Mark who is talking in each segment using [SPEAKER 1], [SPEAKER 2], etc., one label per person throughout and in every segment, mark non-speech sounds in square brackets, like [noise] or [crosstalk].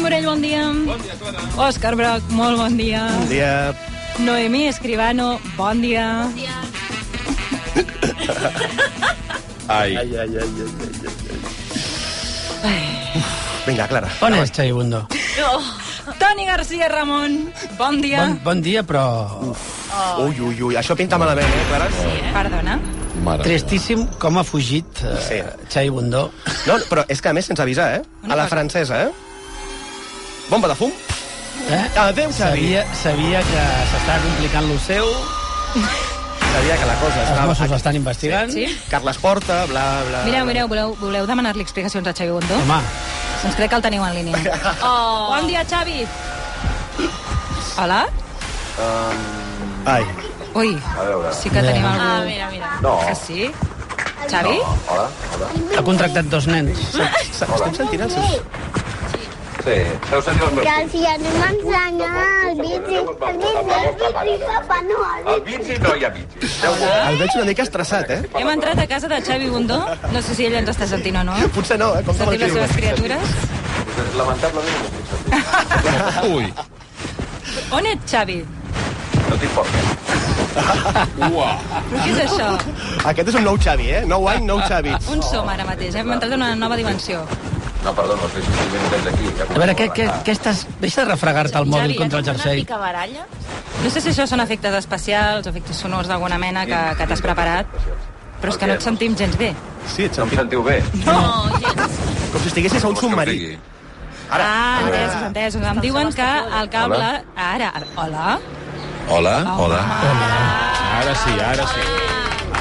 [SPEAKER 1] Maragall, bon dia. Bon dia, Clara. Òscar Broc, molt bon dia.
[SPEAKER 2] Bon dia.
[SPEAKER 1] Noemí Escribano, bon dia. Bon dia.
[SPEAKER 3] Ai.
[SPEAKER 2] Ai, ai, ai, ai, ai, ai, ai. Vinga, Clara.
[SPEAKER 4] On és Chaibundo?
[SPEAKER 1] Toni García Ramon, bon dia.
[SPEAKER 4] Bon, bon dia, però
[SPEAKER 2] Oh. Ui, ui, ui, això pinta malament, eh, Clara?
[SPEAKER 1] Perdona.
[SPEAKER 3] Mare
[SPEAKER 4] tristíssim com ha fugit eh,
[SPEAKER 2] Sí.
[SPEAKER 4] Chaibundo.
[SPEAKER 2] No, però és que a més sense avisar, eh? A la francesa, eh? Bomba de fum.
[SPEAKER 4] Eh?
[SPEAKER 2] Adéu, Xavi.
[SPEAKER 4] Sabia, sabia que s'estava complicant lo seu,
[SPEAKER 2] Sabia que la cosa
[SPEAKER 4] els
[SPEAKER 2] estava...
[SPEAKER 4] Mossos l'estan investigant.
[SPEAKER 1] Sí.
[SPEAKER 2] Carles Porta, bla, bla...
[SPEAKER 1] Mireu,
[SPEAKER 2] bla.
[SPEAKER 1] mireu, voleu, voleu demanar-li explicacions a Xavi
[SPEAKER 5] [laughs]
[SPEAKER 1] Bundó?
[SPEAKER 4] Home,
[SPEAKER 1] Doncs crec que el teniu en línia. Oh. Bon dia, Xavi. Hola?
[SPEAKER 2] Ai.
[SPEAKER 1] Ui, sí que
[SPEAKER 4] Ja.
[SPEAKER 1] tenim algú...
[SPEAKER 5] Ah, mira, mira.
[SPEAKER 3] No.
[SPEAKER 1] Que sí? Xavi?
[SPEAKER 3] Hola, hola.
[SPEAKER 4] ha contractat dos nens.
[SPEAKER 2] Se- Estem sentint els seus...
[SPEAKER 3] Sí, deu ser els meus fills.
[SPEAKER 6] si anem a ensenyar el bici, el bici, el bici, papa, no, el
[SPEAKER 3] Al bici no hi ha bici. Deu
[SPEAKER 2] El veig una mica estressat, eh? [laughs]
[SPEAKER 1] Hem entrat a casa de Xavi Bundó. No sé si ell ens està sentint o no.
[SPEAKER 2] Potser no, eh? Com te
[SPEAKER 1] Sentim les seves criatures.
[SPEAKER 3] Lamentablement no tinc sentit.
[SPEAKER 2] [laughs]
[SPEAKER 7] Ui,
[SPEAKER 1] On ets, Xavi?
[SPEAKER 3] No tinc eh? por.
[SPEAKER 7] uah.
[SPEAKER 1] Però què és això?
[SPEAKER 2] Aquest és un nou Xavi, eh? Nou any, nou Xavi.
[SPEAKER 1] On som ara mateix? Hem entrat en una nova dimensió.
[SPEAKER 3] No, perdona, els deixo 5 minutets aquí. Ja
[SPEAKER 4] A veure, què, què, què estàs... Deixa de refregar-te el mòbil
[SPEAKER 1] Xavi,
[SPEAKER 4] contra el
[SPEAKER 5] Una
[SPEAKER 4] jersei.
[SPEAKER 5] picabaralla?
[SPEAKER 1] No sé si això són efectes especials, efectes sonors d'alguna mena que, que t'has preparat, però és que no et sentim gens bé.
[SPEAKER 2] Sí, ets
[SPEAKER 3] No em sentiu bé?
[SPEAKER 5] No, gens.
[SPEAKER 2] com si estiguessis a un
[SPEAKER 3] Vols que em
[SPEAKER 2] submarí.
[SPEAKER 3] digui?
[SPEAKER 1] Ah, entesos, entesos. Em diuen que el cable...
[SPEAKER 3] Hola.
[SPEAKER 1] Ara, hola?
[SPEAKER 3] Hola, hola.
[SPEAKER 7] Ara sí, ara sí.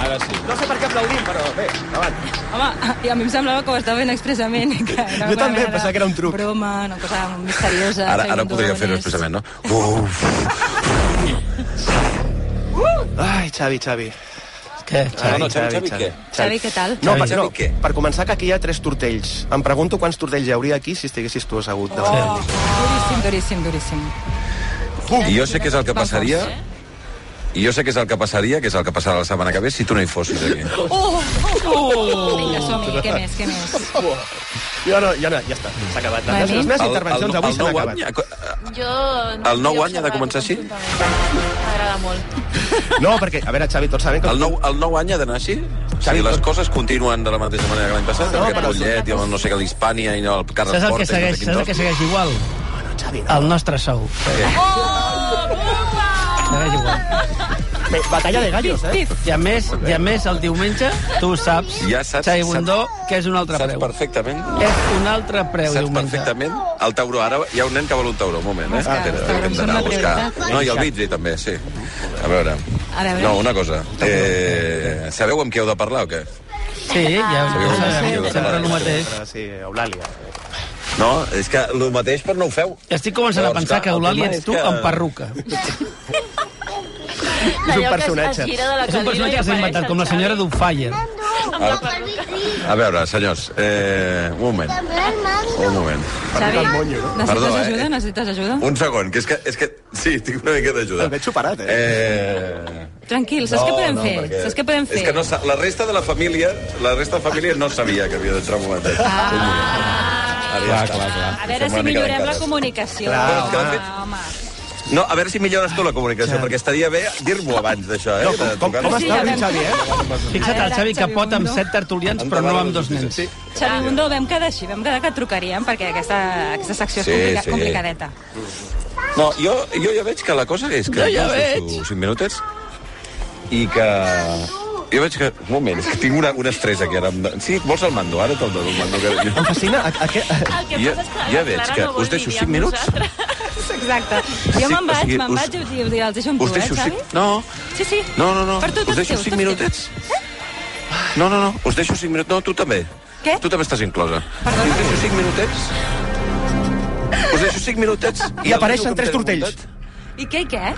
[SPEAKER 7] Ara sí.
[SPEAKER 2] No sé per què aplaudim, però bé, davant.
[SPEAKER 1] Home, i a mi em semblava que ho estava fent expressament. Que era
[SPEAKER 2] Jo
[SPEAKER 1] una
[SPEAKER 2] també,
[SPEAKER 1] mena de
[SPEAKER 2] pensava que era un truc.
[SPEAKER 1] Broma, una cosa misteriosa.
[SPEAKER 3] Ara, ara
[SPEAKER 1] segon
[SPEAKER 3] podria fer-ho
[SPEAKER 1] dones.
[SPEAKER 3] expressament, no? Uf.
[SPEAKER 2] Ai, Xavi, Xavi.
[SPEAKER 4] Què, Xavi?
[SPEAKER 2] Ah,
[SPEAKER 3] No, no, Xavi, Xavi, què?
[SPEAKER 1] Xavi, què tal?
[SPEAKER 2] No, per,
[SPEAKER 4] Xavi,
[SPEAKER 2] no,
[SPEAKER 3] què?
[SPEAKER 2] per començar, que aquí hi ha tres tortells. Em pregunto quants tortells hi hauria aquí si estiguessis tu assegut davant.
[SPEAKER 1] Oh, duríssim, duríssim, duríssim.
[SPEAKER 3] I jo sé què és el que passaria... I jo sé què és el que passaria, que és el que passarà la setmana que ve, si tu no hi fossis aquí.
[SPEAKER 1] Vinga, som-hi, què més, què més?
[SPEAKER 2] Jo no, jo no, ja està, s'ha acabat.
[SPEAKER 1] Vale.
[SPEAKER 2] Les, les meves
[SPEAKER 3] El-
[SPEAKER 2] intervencions
[SPEAKER 3] el-
[SPEAKER 2] avui
[SPEAKER 3] el
[SPEAKER 2] s'han
[SPEAKER 3] nou
[SPEAKER 2] acabat.
[SPEAKER 3] any, eh,
[SPEAKER 5] Jo...
[SPEAKER 3] El nou any ha de començar així?
[SPEAKER 5] M'agrada molt.
[SPEAKER 2] No, perquè, a veure, Xavi, tots sabem que...
[SPEAKER 3] El nou, el nou any ha d'anar així? O sigui, les coses continuen de la mateixa manera que l'any passat? No, aquest
[SPEAKER 2] però-
[SPEAKER 3] Mollet, i el no sé què, l'Hispània, i el Carles
[SPEAKER 4] Saps el que
[SPEAKER 3] Portes,
[SPEAKER 4] segueix,
[SPEAKER 3] no
[SPEAKER 4] saps el
[SPEAKER 3] sé
[SPEAKER 4] que
[SPEAKER 3] quins
[SPEAKER 4] segueix igual?
[SPEAKER 2] No, Xavi, no.
[SPEAKER 4] El nostre sou. Segueix igual.
[SPEAKER 2] Bé, batalla de gallos, eh?
[SPEAKER 4] I a més, i a més el diumenge, tu saps,
[SPEAKER 3] Ja saps-
[SPEAKER 4] Chaibundó, que és un altre
[SPEAKER 3] Saps
[SPEAKER 4] preu.
[SPEAKER 3] perfectament...
[SPEAKER 4] És un Ah, altre preu,
[SPEAKER 3] Saps
[SPEAKER 4] diumenge.
[SPEAKER 3] perfectament el tauró. Ara hi ha un nen que vol un tauró, un moment, eh?
[SPEAKER 1] Ostres,
[SPEAKER 3] Espera,
[SPEAKER 1] els taurons
[SPEAKER 3] hem
[SPEAKER 1] són
[SPEAKER 3] d'anar
[SPEAKER 1] una
[SPEAKER 3] a buscar.
[SPEAKER 1] prioritat.
[SPEAKER 3] No, i el bitzi també, sí. A veure.
[SPEAKER 1] A veure.
[SPEAKER 3] No, una cosa. Eh, sabeu amb qui heu de parlar o què?
[SPEAKER 4] Sí, ja
[SPEAKER 3] Sabeu
[SPEAKER 4] ho
[SPEAKER 3] com
[SPEAKER 4] sabem,
[SPEAKER 3] funciona.
[SPEAKER 4] sempre el mateix.
[SPEAKER 2] Però Sí, Eulàlia.
[SPEAKER 3] No, és que el mateix per no ho feu.
[SPEAKER 4] Estic començant a
[SPEAKER 3] Llavors, clar,
[SPEAKER 4] pensar que
[SPEAKER 3] el
[SPEAKER 4] Eulàlia
[SPEAKER 3] tema
[SPEAKER 4] ets
[SPEAKER 3] és
[SPEAKER 4] tu
[SPEAKER 3] que-
[SPEAKER 4] amb perruca.
[SPEAKER 2] És un personatge.
[SPEAKER 4] És un personatge que s'ha inventat, com la senyora Duffayer.
[SPEAKER 3] A veure, senyors, eh, un moment, un moment.
[SPEAKER 1] Xavi, necessites
[SPEAKER 3] Perdó, eh?
[SPEAKER 1] ajuda? Necessites ajuda?
[SPEAKER 3] Un segon, que és que, és que sí, tinc una mica d'ajuda.
[SPEAKER 2] El veig superat, eh?
[SPEAKER 3] eh...
[SPEAKER 1] Tranquil, saps què podem fer?
[SPEAKER 3] perquè-
[SPEAKER 1] Saps què podem fer?
[SPEAKER 3] És que no, sa- la resta de la família, la resta de la família no sabia que havia d'entrar un moment. Ah,
[SPEAKER 7] Clar, clar, clar.
[SPEAKER 1] A veure
[SPEAKER 3] Fem
[SPEAKER 1] si
[SPEAKER 3] una mica de
[SPEAKER 1] millorem la
[SPEAKER 3] cares.
[SPEAKER 1] comunicació.
[SPEAKER 2] Clar,
[SPEAKER 1] home,
[SPEAKER 3] home.
[SPEAKER 1] home.
[SPEAKER 3] No, a veure si millores tu la comunicació, perquè estaria bé dir-m'ho abans d'això, eh?
[SPEAKER 2] No, com, com, com
[SPEAKER 1] Sí,
[SPEAKER 2] està el
[SPEAKER 1] ja
[SPEAKER 2] Xavi, eh?
[SPEAKER 4] Fixa't el Xavi que pot amb set tertulians, però no amb dos nens.
[SPEAKER 3] Sí,
[SPEAKER 1] Xavi Bundó, vam quedar així, vam quedar que et trucaríem, perquè aquesta, aquesta secció és
[SPEAKER 3] Sí,
[SPEAKER 1] complica,
[SPEAKER 3] sí.
[SPEAKER 1] complicadeta.
[SPEAKER 3] No, jo, jo ja veig que la cosa és que...
[SPEAKER 4] Jo ja
[SPEAKER 3] us deixo
[SPEAKER 4] veig.
[SPEAKER 3] Cinc minutets. I que... Jo veig que... Un moment, és que tinc una, un estrès aquí ara. Em- Sí, vols el mando? Ara te'l dono,
[SPEAKER 1] [laughs]
[SPEAKER 3] el mando. Que...
[SPEAKER 2] Em fascina a, a, a,
[SPEAKER 5] El que
[SPEAKER 3] Ja-
[SPEAKER 5] passa és
[SPEAKER 3] ja
[SPEAKER 5] que la
[SPEAKER 3] veig
[SPEAKER 5] Clara
[SPEAKER 3] que
[SPEAKER 5] no vol
[SPEAKER 3] us deixo cinc
[SPEAKER 5] lidiar amb
[SPEAKER 3] minuts.
[SPEAKER 5] vosaltres.
[SPEAKER 1] [laughs] Exacte. Jo
[SPEAKER 3] Sí,
[SPEAKER 1] me'n
[SPEAKER 3] o
[SPEAKER 1] vaig,
[SPEAKER 3] sigui,
[SPEAKER 1] me'n
[SPEAKER 3] us-
[SPEAKER 1] vaig i us, i us, els deixo amb tu,
[SPEAKER 3] Us
[SPEAKER 1] eh,
[SPEAKER 3] deixo
[SPEAKER 1] Xavi?
[SPEAKER 3] cinc... No,
[SPEAKER 1] Sí, sí.
[SPEAKER 3] no, no, no.
[SPEAKER 1] Per tu,
[SPEAKER 3] us
[SPEAKER 1] tots
[SPEAKER 3] deixo
[SPEAKER 1] teus,
[SPEAKER 3] cinc
[SPEAKER 1] tots
[SPEAKER 3] minutets. No, no, no, us deixo cinc minuts. No, tu també.
[SPEAKER 1] Què?
[SPEAKER 3] Tu també estàs inclosa. Perdona? Us deixo cinc minutets. Us deixo cinc minutets.
[SPEAKER 2] I apareixen
[SPEAKER 3] el
[SPEAKER 2] tres
[SPEAKER 3] que em tenen
[SPEAKER 2] tortells.
[SPEAKER 1] teus. I què, i què?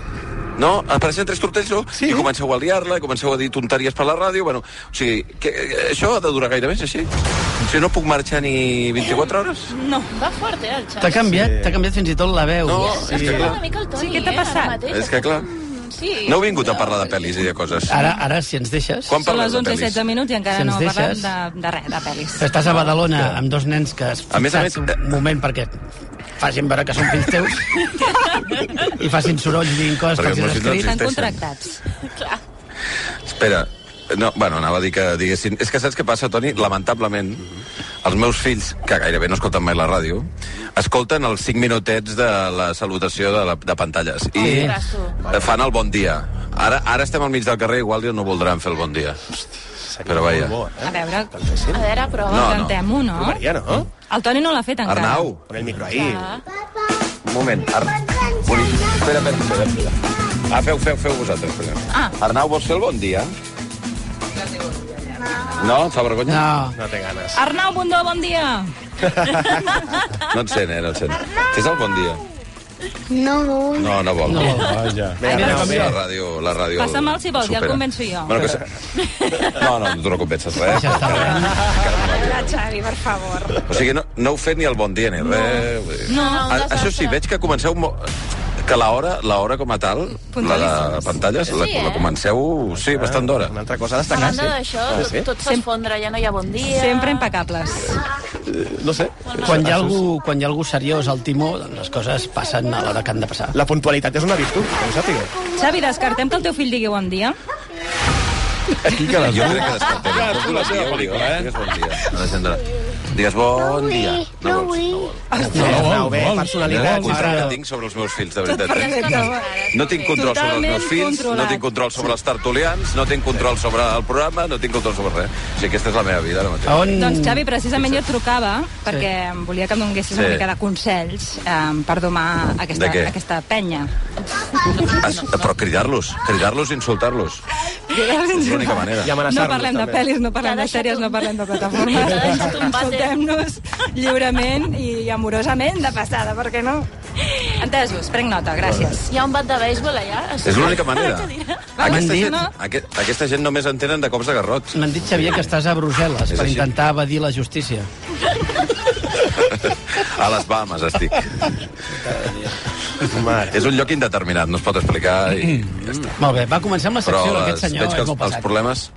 [SPEAKER 3] No, apareixen tres tortells, no?
[SPEAKER 2] Sí.
[SPEAKER 3] I comenceu a liar-la, i comenceu a dir tonteries per la ràdio, bueno, o sigui, que, eh, això ha de durar gaire més, així? O sigui, no puc marxar ni 24 hores?
[SPEAKER 1] No.
[SPEAKER 5] Va fort, eh, el
[SPEAKER 4] T'ha
[SPEAKER 5] Xavi?
[SPEAKER 4] canviat, t'ha canviat fins i tot la veu.
[SPEAKER 3] No, és que clar,
[SPEAKER 5] Una mica el Toni,
[SPEAKER 1] Sí, què t'ha
[SPEAKER 5] eh,
[SPEAKER 1] passat?
[SPEAKER 5] ara mateix.
[SPEAKER 3] és que clar,
[SPEAKER 5] Sí.
[SPEAKER 3] Eh? no he vingut a parlar de pel·lis i de coses.
[SPEAKER 4] Ara, ara, si ens deixes...
[SPEAKER 3] Quan
[SPEAKER 1] Són
[SPEAKER 3] parlem
[SPEAKER 1] les
[SPEAKER 3] de
[SPEAKER 1] 11 i
[SPEAKER 3] pel·lis?
[SPEAKER 1] 16 minuts i encara
[SPEAKER 4] Si ens
[SPEAKER 1] no parlem
[SPEAKER 4] deixes-
[SPEAKER 1] de, de res, de pel·lis.
[SPEAKER 4] Estàs a Badalona amb dos nens que has
[SPEAKER 3] A més a
[SPEAKER 4] fixat
[SPEAKER 3] més,
[SPEAKER 4] un moment perquè facin veure que són fills teus i facin soroll dient coses
[SPEAKER 3] Perquè
[SPEAKER 4] que els
[SPEAKER 3] molts
[SPEAKER 4] has
[SPEAKER 3] no
[SPEAKER 4] escrit.
[SPEAKER 3] existeixen.
[SPEAKER 1] Estan contractats.
[SPEAKER 5] Clar.
[SPEAKER 3] Espera, no, bueno, anava a dir que diguessin... És que saps què passa, Toni? Lamentablement, els meus fills, que gairebé no escolten mai la ràdio, escolten els 5 minutets de la salutació de, la, de pantalles. I
[SPEAKER 5] ostres, tu.
[SPEAKER 3] eh, fan el bon dia. Ara, ara estem al mig del carrer, igual no voldran fer el bon dia. Però vaja.
[SPEAKER 2] Molt bo,
[SPEAKER 1] A
[SPEAKER 2] eh?
[SPEAKER 1] veure,
[SPEAKER 5] A veure, però...
[SPEAKER 3] No, no.
[SPEAKER 1] cantem-ho, no?
[SPEAKER 2] Maria, no?
[SPEAKER 1] El Toni no l'ha fet encara.
[SPEAKER 3] Arnau,
[SPEAKER 2] Con el micro ahí.
[SPEAKER 3] un moment. Ar... Bonic. Espera, espera, espera. espera. Ah, feu, feu, feu vosaltres. Primer.
[SPEAKER 1] Ah.
[SPEAKER 3] Arnau, vols fer el bon dia? No, et fa vergonya?
[SPEAKER 4] No.
[SPEAKER 2] No té ganes.
[SPEAKER 1] Arnau Bundó, bon dia.
[SPEAKER 3] No et sent, eh? No et sent. Fes el bon dia.
[SPEAKER 6] No vull.
[SPEAKER 3] No, no vol. No.
[SPEAKER 7] Vaja.
[SPEAKER 2] Vinga,
[SPEAKER 3] Mira,
[SPEAKER 2] Arnau,
[SPEAKER 3] la
[SPEAKER 2] bé.
[SPEAKER 3] ràdio, la ràdio...
[SPEAKER 1] Passa'm el si vols, ja el
[SPEAKER 3] supera.
[SPEAKER 1] convenço jo.
[SPEAKER 3] Bueno, que... se- No, no, tu no convences res.
[SPEAKER 4] Ja està bé.
[SPEAKER 1] Xavi, per favor.
[SPEAKER 3] O sigui, no, no heu fet ni el bon dia ni res. vull dir.
[SPEAKER 1] No.
[SPEAKER 5] No, un
[SPEAKER 3] A, això sí,
[SPEAKER 5] desastre.
[SPEAKER 3] veig que comenceu... Mo... Que l'hora, l'hora com a tal, la de
[SPEAKER 1] Puntualíssims.
[SPEAKER 3] pantalles, la,
[SPEAKER 5] Sí, eh?
[SPEAKER 3] la comenceu, sí, bastant d'hora.
[SPEAKER 2] Ah, Una altra cosa a
[SPEAKER 5] A
[SPEAKER 2] destacar,
[SPEAKER 5] banda d'això,
[SPEAKER 3] Ah,
[SPEAKER 2] sí?
[SPEAKER 5] tot, tot s'esfondra, ja no hi ha bon dia...
[SPEAKER 1] Sempre impecables.
[SPEAKER 2] No sé.
[SPEAKER 4] Quan
[SPEAKER 5] Ah,
[SPEAKER 4] hi, ha algú, quan hi ha algú seriós al timó, doncs les coses passen a l'hora que han de passar.
[SPEAKER 2] La puntualitat és una virtut, que ho sàpiga.
[SPEAKER 1] Xavi, descartem que el teu fill digui bon dia?
[SPEAKER 3] Aquí
[SPEAKER 2] Ah,
[SPEAKER 3] que jo crec que descartem. Ja, tu la seva pel·lícula, eh? Digues bon dia. Alexandra. Digues bon dia.
[SPEAKER 6] No
[SPEAKER 3] vols,
[SPEAKER 6] vull.
[SPEAKER 3] no vols.
[SPEAKER 2] No, Arnau, bé,
[SPEAKER 3] Mira, el
[SPEAKER 7] molt.
[SPEAKER 2] personalitat.
[SPEAKER 3] control que
[SPEAKER 4] m'agrada.
[SPEAKER 3] tinc sobre els meus fills, de veritat.
[SPEAKER 5] per les coses
[SPEAKER 3] eh?
[SPEAKER 5] rares,
[SPEAKER 3] No tinc control sobre els
[SPEAKER 1] Totalment
[SPEAKER 3] meus fills, no
[SPEAKER 1] controlat.
[SPEAKER 3] tinc control sobre els tertulians, no tinc control sobre el programa, no tinc control sobre res. O sigui, aquesta és la meva vida ara mateix.
[SPEAKER 4] A on...
[SPEAKER 1] Doncs, Xavi, precisament jo et trucava perquè em volia que em donguessis
[SPEAKER 3] Sí.
[SPEAKER 1] una mica de consells eh, per domar aquesta,
[SPEAKER 3] De què?
[SPEAKER 1] aquesta penya.
[SPEAKER 4] Ah,
[SPEAKER 3] Es, però cridar-los, cridar-los i insultar-los. És
[SPEAKER 1] [laughs]
[SPEAKER 3] l'única
[SPEAKER 2] I
[SPEAKER 3] manera.
[SPEAKER 1] No
[SPEAKER 2] amenaçar-los,
[SPEAKER 1] parlem de
[SPEAKER 2] també.
[SPEAKER 1] pel·lis, no
[SPEAKER 5] T'ha
[SPEAKER 1] parlem de
[SPEAKER 5] deixat
[SPEAKER 1] sèries,
[SPEAKER 5] un-
[SPEAKER 1] no parlem de
[SPEAKER 5] T'ha deixat
[SPEAKER 1] plataformes.
[SPEAKER 5] un vàter.
[SPEAKER 1] Insultem-nos lliurement i amorosament, de passada, per què no? Entesos, prenc nota, gràcies.
[SPEAKER 5] Hi ha un bat de béisbol allà?
[SPEAKER 3] És l'única
[SPEAKER 5] [laughs]
[SPEAKER 3] manera.
[SPEAKER 1] M'han
[SPEAKER 3] Aquesta
[SPEAKER 1] dit-
[SPEAKER 3] gent, aquest, aquesta gent només entenen de cops de garrots.
[SPEAKER 4] M'han dit, Xavier, que estàs a Brussel·les
[SPEAKER 3] És
[SPEAKER 4] per
[SPEAKER 3] així.
[SPEAKER 4] intentar evadir la justícia.
[SPEAKER 3] A les Bahamas estic.
[SPEAKER 2] Mare.
[SPEAKER 3] És un lloc indeterminat, no es pot explicar i ja està.
[SPEAKER 4] Molt bé, va començar amb Mm. la
[SPEAKER 3] Però
[SPEAKER 4] secció
[SPEAKER 3] les,
[SPEAKER 4] d'aquest senyor.
[SPEAKER 3] veig que
[SPEAKER 4] és
[SPEAKER 3] els,
[SPEAKER 4] molt
[SPEAKER 3] els
[SPEAKER 4] pesat.
[SPEAKER 3] problemes...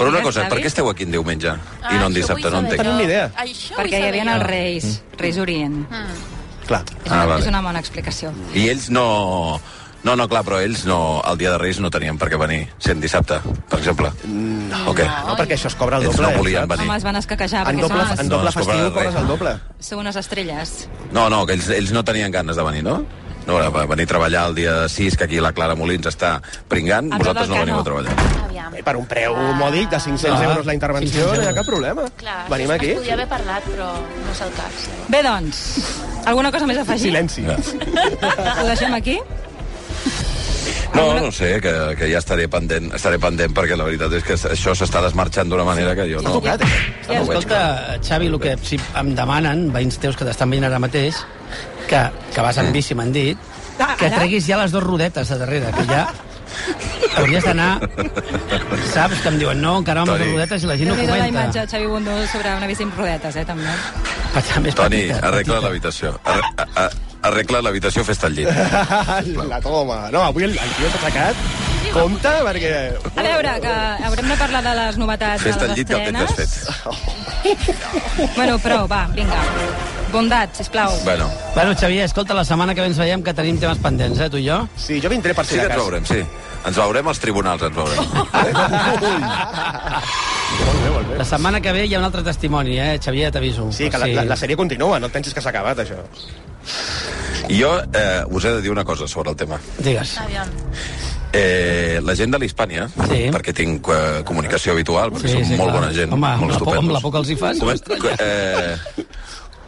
[SPEAKER 3] Però una
[SPEAKER 1] Ja
[SPEAKER 3] cosa,
[SPEAKER 1] està
[SPEAKER 3] per
[SPEAKER 1] bé. Ah,
[SPEAKER 3] què esteu aquí en diumenge i
[SPEAKER 5] Ah,
[SPEAKER 3] no en dissabte? No entenc.
[SPEAKER 2] Teniu ni idea.
[SPEAKER 5] Això
[SPEAKER 1] Perquè hi havia els Reis, Reis Orient.
[SPEAKER 2] Clar.
[SPEAKER 1] És una,
[SPEAKER 3] Ah, vale.
[SPEAKER 1] és una bona explicació.
[SPEAKER 3] I ells no... No, no, clar, però ells no, el dia de Reis no tenien per què venir, sent dissabte, per exemple. No. O què?
[SPEAKER 2] No, perquè això es cobra el
[SPEAKER 3] Ells
[SPEAKER 2] doble.
[SPEAKER 3] no volien
[SPEAKER 2] eh, saps?
[SPEAKER 3] venir.
[SPEAKER 1] Home, es van
[SPEAKER 5] Ah,
[SPEAKER 1] escaquejar,
[SPEAKER 2] En
[SPEAKER 1] perquè
[SPEAKER 2] doble,
[SPEAKER 1] són,
[SPEAKER 2] en
[SPEAKER 1] unes,
[SPEAKER 3] No,
[SPEAKER 2] doble
[SPEAKER 3] es cobra
[SPEAKER 2] festiu
[SPEAKER 3] res.
[SPEAKER 2] cobres el doble.
[SPEAKER 1] són unes estrelles.
[SPEAKER 3] No, no, que ells, ells no tenien ganes de venir, no? No, era per venir a treballar el dia 6, que aquí la Clara Molins està pringant,
[SPEAKER 1] A
[SPEAKER 3] vosaltres no
[SPEAKER 1] tot el
[SPEAKER 3] veniu a
[SPEAKER 1] que no.
[SPEAKER 3] treballar.
[SPEAKER 5] Aviam.
[SPEAKER 2] Bé, Eh, per un preu mòdic de 500
[SPEAKER 4] Ah,
[SPEAKER 2] euros la intervenció,
[SPEAKER 4] 500
[SPEAKER 2] no hi ha
[SPEAKER 4] euros.
[SPEAKER 2] cap problema.
[SPEAKER 5] Clar,
[SPEAKER 2] Venim aquí.
[SPEAKER 5] Es podia haver parlat, però no és el cas.
[SPEAKER 1] Bé, doncs, alguna cosa més a afegir?
[SPEAKER 2] Silenci.
[SPEAKER 3] Ah.
[SPEAKER 1] Ho deixem aquí?
[SPEAKER 3] No, no sé, que, que ja estaré pendent, estaré pendent perquè la veritat és que això s'està desmarxant d'una manera que jo no...
[SPEAKER 2] tocat, eh?
[SPEAKER 3] Ah, no ho veig,
[SPEAKER 4] Escolta,
[SPEAKER 3] clar.
[SPEAKER 4] Xavi, el que si em demanen, veïns teus que t'estan veient ara mateix, que, que vas
[SPEAKER 3] Mm.
[SPEAKER 4] amb bici, m'han dit,
[SPEAKER 1] Ah,
[SPEAKER 4] que
[SPEAKER 1] ara?
[SPEAKER 4] treguis ja les dues rodetes de darrere, que ja hauries d'anar...
[SPEAKER 3] [laughs]
[SPEAKER 4] Saps que em diuen, no, encara amb les dues
[SPEAKER 3] Toni.
[SPEAKER 4] rodetes i la gent
[SPEAKER 1] No
[SPEAKER 4] ho
[SPEAKER 1] la imatge
[SPEAKER 4] comenta.
[SPEAKER 1] de Xavi Bundó sobre una bici amb rodetes, eh, també.
[SPEAKER 4] Passa més
[SPEAKER 3] Toni,
[SPEAKER 4] petita,
[SPEAKER 3] arregla
[SPEAKER 4] petita.
[SPEAKER 3] l'habitació. Arre- a- a- Arregla l'habitació, fes-te el
[SPEAKER 2] [laughs]
[SPEAKER 3] llit.
[SPEAKER 2] La toma. No, avui el, el tio s'ha aixecat. Compte, perquè...
[SPEAKER 1] A veure, que haurem de parlar de les novetats de
[SPEAKER 3] Fes-te el
[SPEAKER 1] les
[SPEAKER 3] llit que el tens
[SPEAKER 1] estrenes.
[SPEAKER 3] desfet.
[SPEAKER 1] Bueno, prou, va, vinga. Bondat, sisplau.
[SPEAKER 3] Bueno,
[SPEAKER 4] Bueno, Xavier, escolta, la setmana que ve ens veiem que tenim temes pendents, eh, tu i jo?
[SPEAKER 2] Sí, jo vindré per
[SPEAKER 3] sí
[SPEAKER 2] si
[SPEAKER 3] que
[SPEAKER 2] de
[SPEAKER 3] ens
[SPEAKER 2] cas.
[SPEAKER 3] veurem, sí. Ens veurem als tribunals, ens veurem.
[SPEAKER 2] Molt bé, molt bé.
[SPEAKER 4] La setmana que ve hi ha un altre testimoni, eh, Xavier, t'aviso.
[SPEAKER 2] Sí, que la, la, la sèrie continua, no et pensis que s'ha acabat, això.
[SPEAKER 3] I Jo eh, us he de dir una cosa sobre el tema.
[SPEAKER 4] Digues.
[SPEAKER 5] Aviam.
[SPEAKER 3] Eh, la gent de l'Hispània, sí.
[SPEAKER 4] Sí.
[SPEAKER 3] perquè tinc eh, comunicació habitual, perquè sí,
[SPEAKER 4] Sí,
[SPEAKER 3] són
[SPEAKER 4] sí,
[SPEAKER 3] molt
[SPEAKER 4] clar.
[SPEAKER 3] bona gent,
[SPEAKER 4] Home, amb
[SPEAKER 3] molt
[SPEAKER 4] la por-
[SPEAKER 3] estupendos.
[SPEAKER 4] amb la por que els hi fas, no
[SPEAKER 3] Comen eh,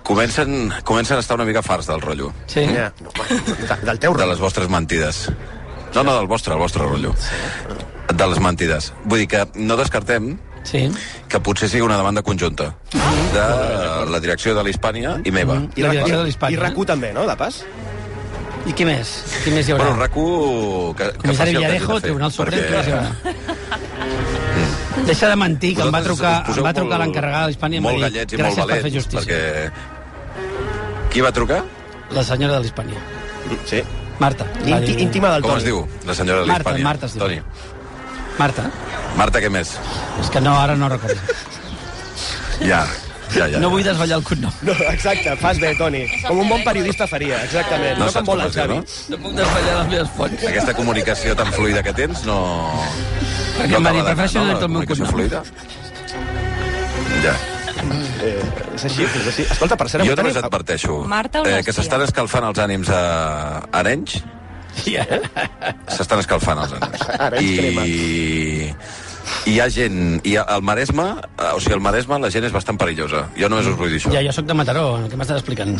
[SPEAKER 3] comencen, comencen a estar una mica farts del rotllo,
[SPEAKER 4] Sí.
[SPEAKER 2] Ja. No, de, del teu
[SPEAKER 3] de
[SPEAKER 2] rol.
[SPEAKER 3] les vostres mentides. No, no, del vostre, el vostre rotllo. De les mentides. Vull dir que no descartem
[SPEAKER 4] Sí.
[SPEAKER 3] que potser sigui una demanda conjunta de eh, la direcció de l'Hispània i meva.
[SPEAKER 4] I la direcció eh? de l'Hispània.
[SPEAKER 2] I RAC1 també, no?, de pas?
[SPEAKER 4] I qui més? Qui més hi haurà?
[SPEAKER 3] Bueno, RAC1... Que, que faci
[SPEAKER 4] Comissari
[SPEAKER 3] el que hagi de
[SPEAKER 4] Villarejo,
[SPEAKER 3] fer,
[SPEAKER 4] Tribunal Suprem,
[SPEAKER 3] perquè-
[SPEAKER 4] què més hi haurà? Deixa de mentir, que em va
[SPEAKER 3] Vosaltres
[SPEAKER 4] trucar,
[SPEAKER 3] us
[SPEAKER 4] em
[SPEAKER 3] poseu
[SPEAKER 4] va trucar
[SPEAKER 3] molt-
[SPEAKER 4] l'encarregada d'Hispània i em va
[SPEAKER 3] Molt
[SPEAKER 4] dir,
[SPEAKER 3] gallets i molt
[SPEAKER 4] gràcies per fer
[SPEAKER 3] valents,
[SPEAKER 4] justícia.
[SPEAKER 3] perquè... Qui va trucar?
[SPEAKER 4] La senyora de l'Hispània.
[SPEAKER 2] Sí.
[SPEAKER 4] Marta. va
[SPEAKER 2] Inti,
[SPEAKER 4] dir-
[SPEAKER 2] íntima del
[SPEAKER 3] Com
[SPEAKER 2] Toni.
[SPEAKER 3] es diu, la senyora de
[SPEAKER 4] Marta,
[SPEAKER 3] l'Hispània?
[SPEAKER 4] Marta es diu.
[SPEAKER 3] Toni.
[SPEAKER 4] Marta.
[SPEAKER 3] Marta, què més?
[SPEAKER 4] És que no, ara no recordo.
[SPEAKER 3] Ja. Ja, ja,
[SPEAKER 4] No vull
[SPEAKER 3] ja.
[SPEAKER 4] desvetllar el cognom.
[SPEAKER 2] [laughs] No, exacte, fas bé, Toni. Com un bon periodista faria, exactament.
[SPEAKER 3] No
[SPEAKER 2] No,
[SPEAKER 3] saps
[SPEAKER 2] com vol el
[SPEAKER 3] com es diu,
[SPEAKER 2] Xavi.
[SPEAKER 3] no?
[SPEAKER 4] No puc desvetllar les meves fonts.
[SPEAKER 3] Aquesta comunicació tan fluida que tens no...
[SPEAKER 4] Perquè em va dir,
[SPEAKER 3] t'agrada,
[SPEAKER 4] "Prefereixo
[SPEAKER 3] La
[SPEAKER 4] anar-te al meu
[SPEAKER 3] comunicació
[SPEAKER 4] cognom."
[SPEAKER 3] fluida? Ja.
[SPEAKER 2] Eh, és així, és així. Escolta, per cert,
[SPEAKER 3] Jo
[SPEAKER 2] avui
[SPEAKER 3] només
[SPEAKER 2] tenim-
[SPEAKER 3] adverteixo eh,
[SPEAKER 1] Marta o no,
[SPEAKER 3] que
[SPEAKER 1] hòstia?
[SPEAKER 3] s'estan escalfant els ànims a Arenys. S'estan escalfant els ànims.
[SPEAKER 2] Arenys crema.
[SPEAKER 3] I... I hi ha gent... I el Maresme, eh, o sigui, el Maresme, la gent és bastant perillosa. Jo només us vull dir això.
[SPEAKER 4] Ja, jo sóc de Mataró, què m'estàs explicant?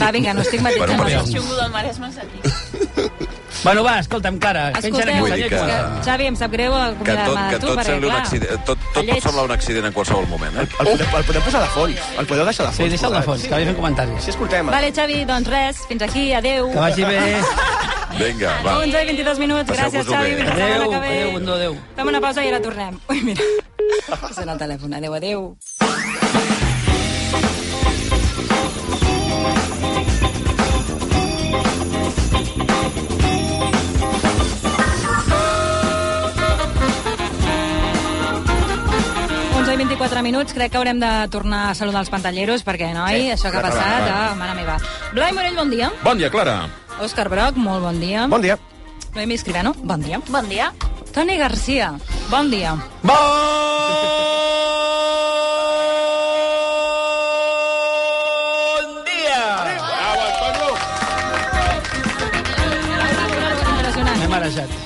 [SPEAKER 1] Va, vinga, no estic
[SPEAKER 3] Bueno,
[SPEAKER 1] matisant
[SPEAKER 3] per
[SPEAKER 1] els
[SPEAKER 3] això.
[SPEAKER 5] Xungo del Maresme és aquí.
[SPEAKER 4] Bueno, va, escolta'm, cara, penja la
[SPEAKER 1] Escolteu,
[SPEAKER 3] Vull
[SPEAKER 4] cançó.
[SPEAKER 3] dir
[SPEAKER 1] és que,
[SPEAKER 3] que-
[SPEAKER 1] Xavi, em sap greu
[SPEAKER 3] Que tot,
[SPEAKER 1] acomiadar-me de
[SPEAKER 3] que
[SPEAKER 1] tu,
[SPEAKER 3] tot,
[SPEAKER 1] perquè,
[SPEAKER 3] sembli un
[SPEAKER 1] clar,
[SPEAKER 3] accident, eh, tot, tot pot
[SPEAKER 5] Lleig.
[SPEAKER 3] semblar un accident en qualsevol moment, eh?
[SPEAKER 2] El, podem, el podem posar de fons. El podeu deixar de fons.
[SPEAKER 4] Sí, deixa'l de
[SPEAKER 2] posat.
[SPEAKER 4] fons, que vagi fent comentaris.
[SPEAKER 2] Sí, escoltem.
[SPEAKER 1] Vale, Xavi, doncs res, fins aquí, adeu.
[SPEAKER 4] Que vagi bé.
[SPEAKER 3] Vinga, va.
[SPEAKER 1] 11 i 22 minuts, gràcies,
[SPEAKER 3] Passeu-vos-ho
[SPEAKER 1] Xavi,
[SPEAKER 3] bé.
[SPEAKER 1] fins la setmana
[SPEAKER 4] Adéu,
[SPEAKER 1] que ve.
[SPEAKER 4] adéu, Bundó, adéu.
[SPEAKER 1] Fem una pausa i ara tornem. Ui, mira, sona el telèfon, adéu, adéu. i 24 minuts, crec que haurem de tornar a saludar els pantalleros, perquè, noi, això que ha passat, ah, mare meva. Blai Morell, bon dia.
[SPEAKER 7] Bon dia, Clara.
[SPEAKER 1] Òscar Broc, molt bon dia.
[SPEAKER 2] Bon dia.
[SPEAKER 1] Noemi Escribano, bon dia.
[SPEAKER 5] Bon dia.
[SPEAKER 1] Toni Garcia, bon dia.
[SPEAKER 7] Bon dia! Bravo, Antonio!
[SPEAKER 1] Impressionant.
[SPEAKER 4] M'he marejat.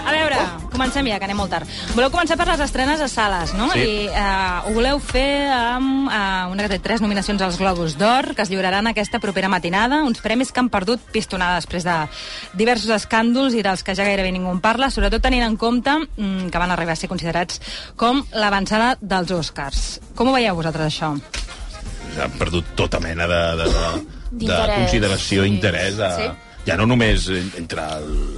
[SPEAKER 1] A veure, comencem ja, que anem molt tard. Voleu començar per les estrenes a sales, no?
[SPEAKER 7] Sí.
[SPEAKER 1] I eh, ho voleu fer amb eh, una de tres nominacions als Globus d'Or, que es lliuraran aquesta propera matinada, uns premis que han perdut pistonada després de diversos escàndols i dels que ja gairebé ningú en parla, sobretot tenint en compte mm, que van arribar a ser considerats com l'avançada dels Oscars. Com ho veieu vosaltres, això?
[SPEAKER 7] han perdut tota mena de, de, de, de
[SPEAKER 5] D'interès.
[SPEAKER 7] consideració,
[SPEAKER 5] Sí.
[SPEAKER 7] interès. A,
[SPEAKER 5] Sí.
[SPEAKER 7] Ja no només en- entre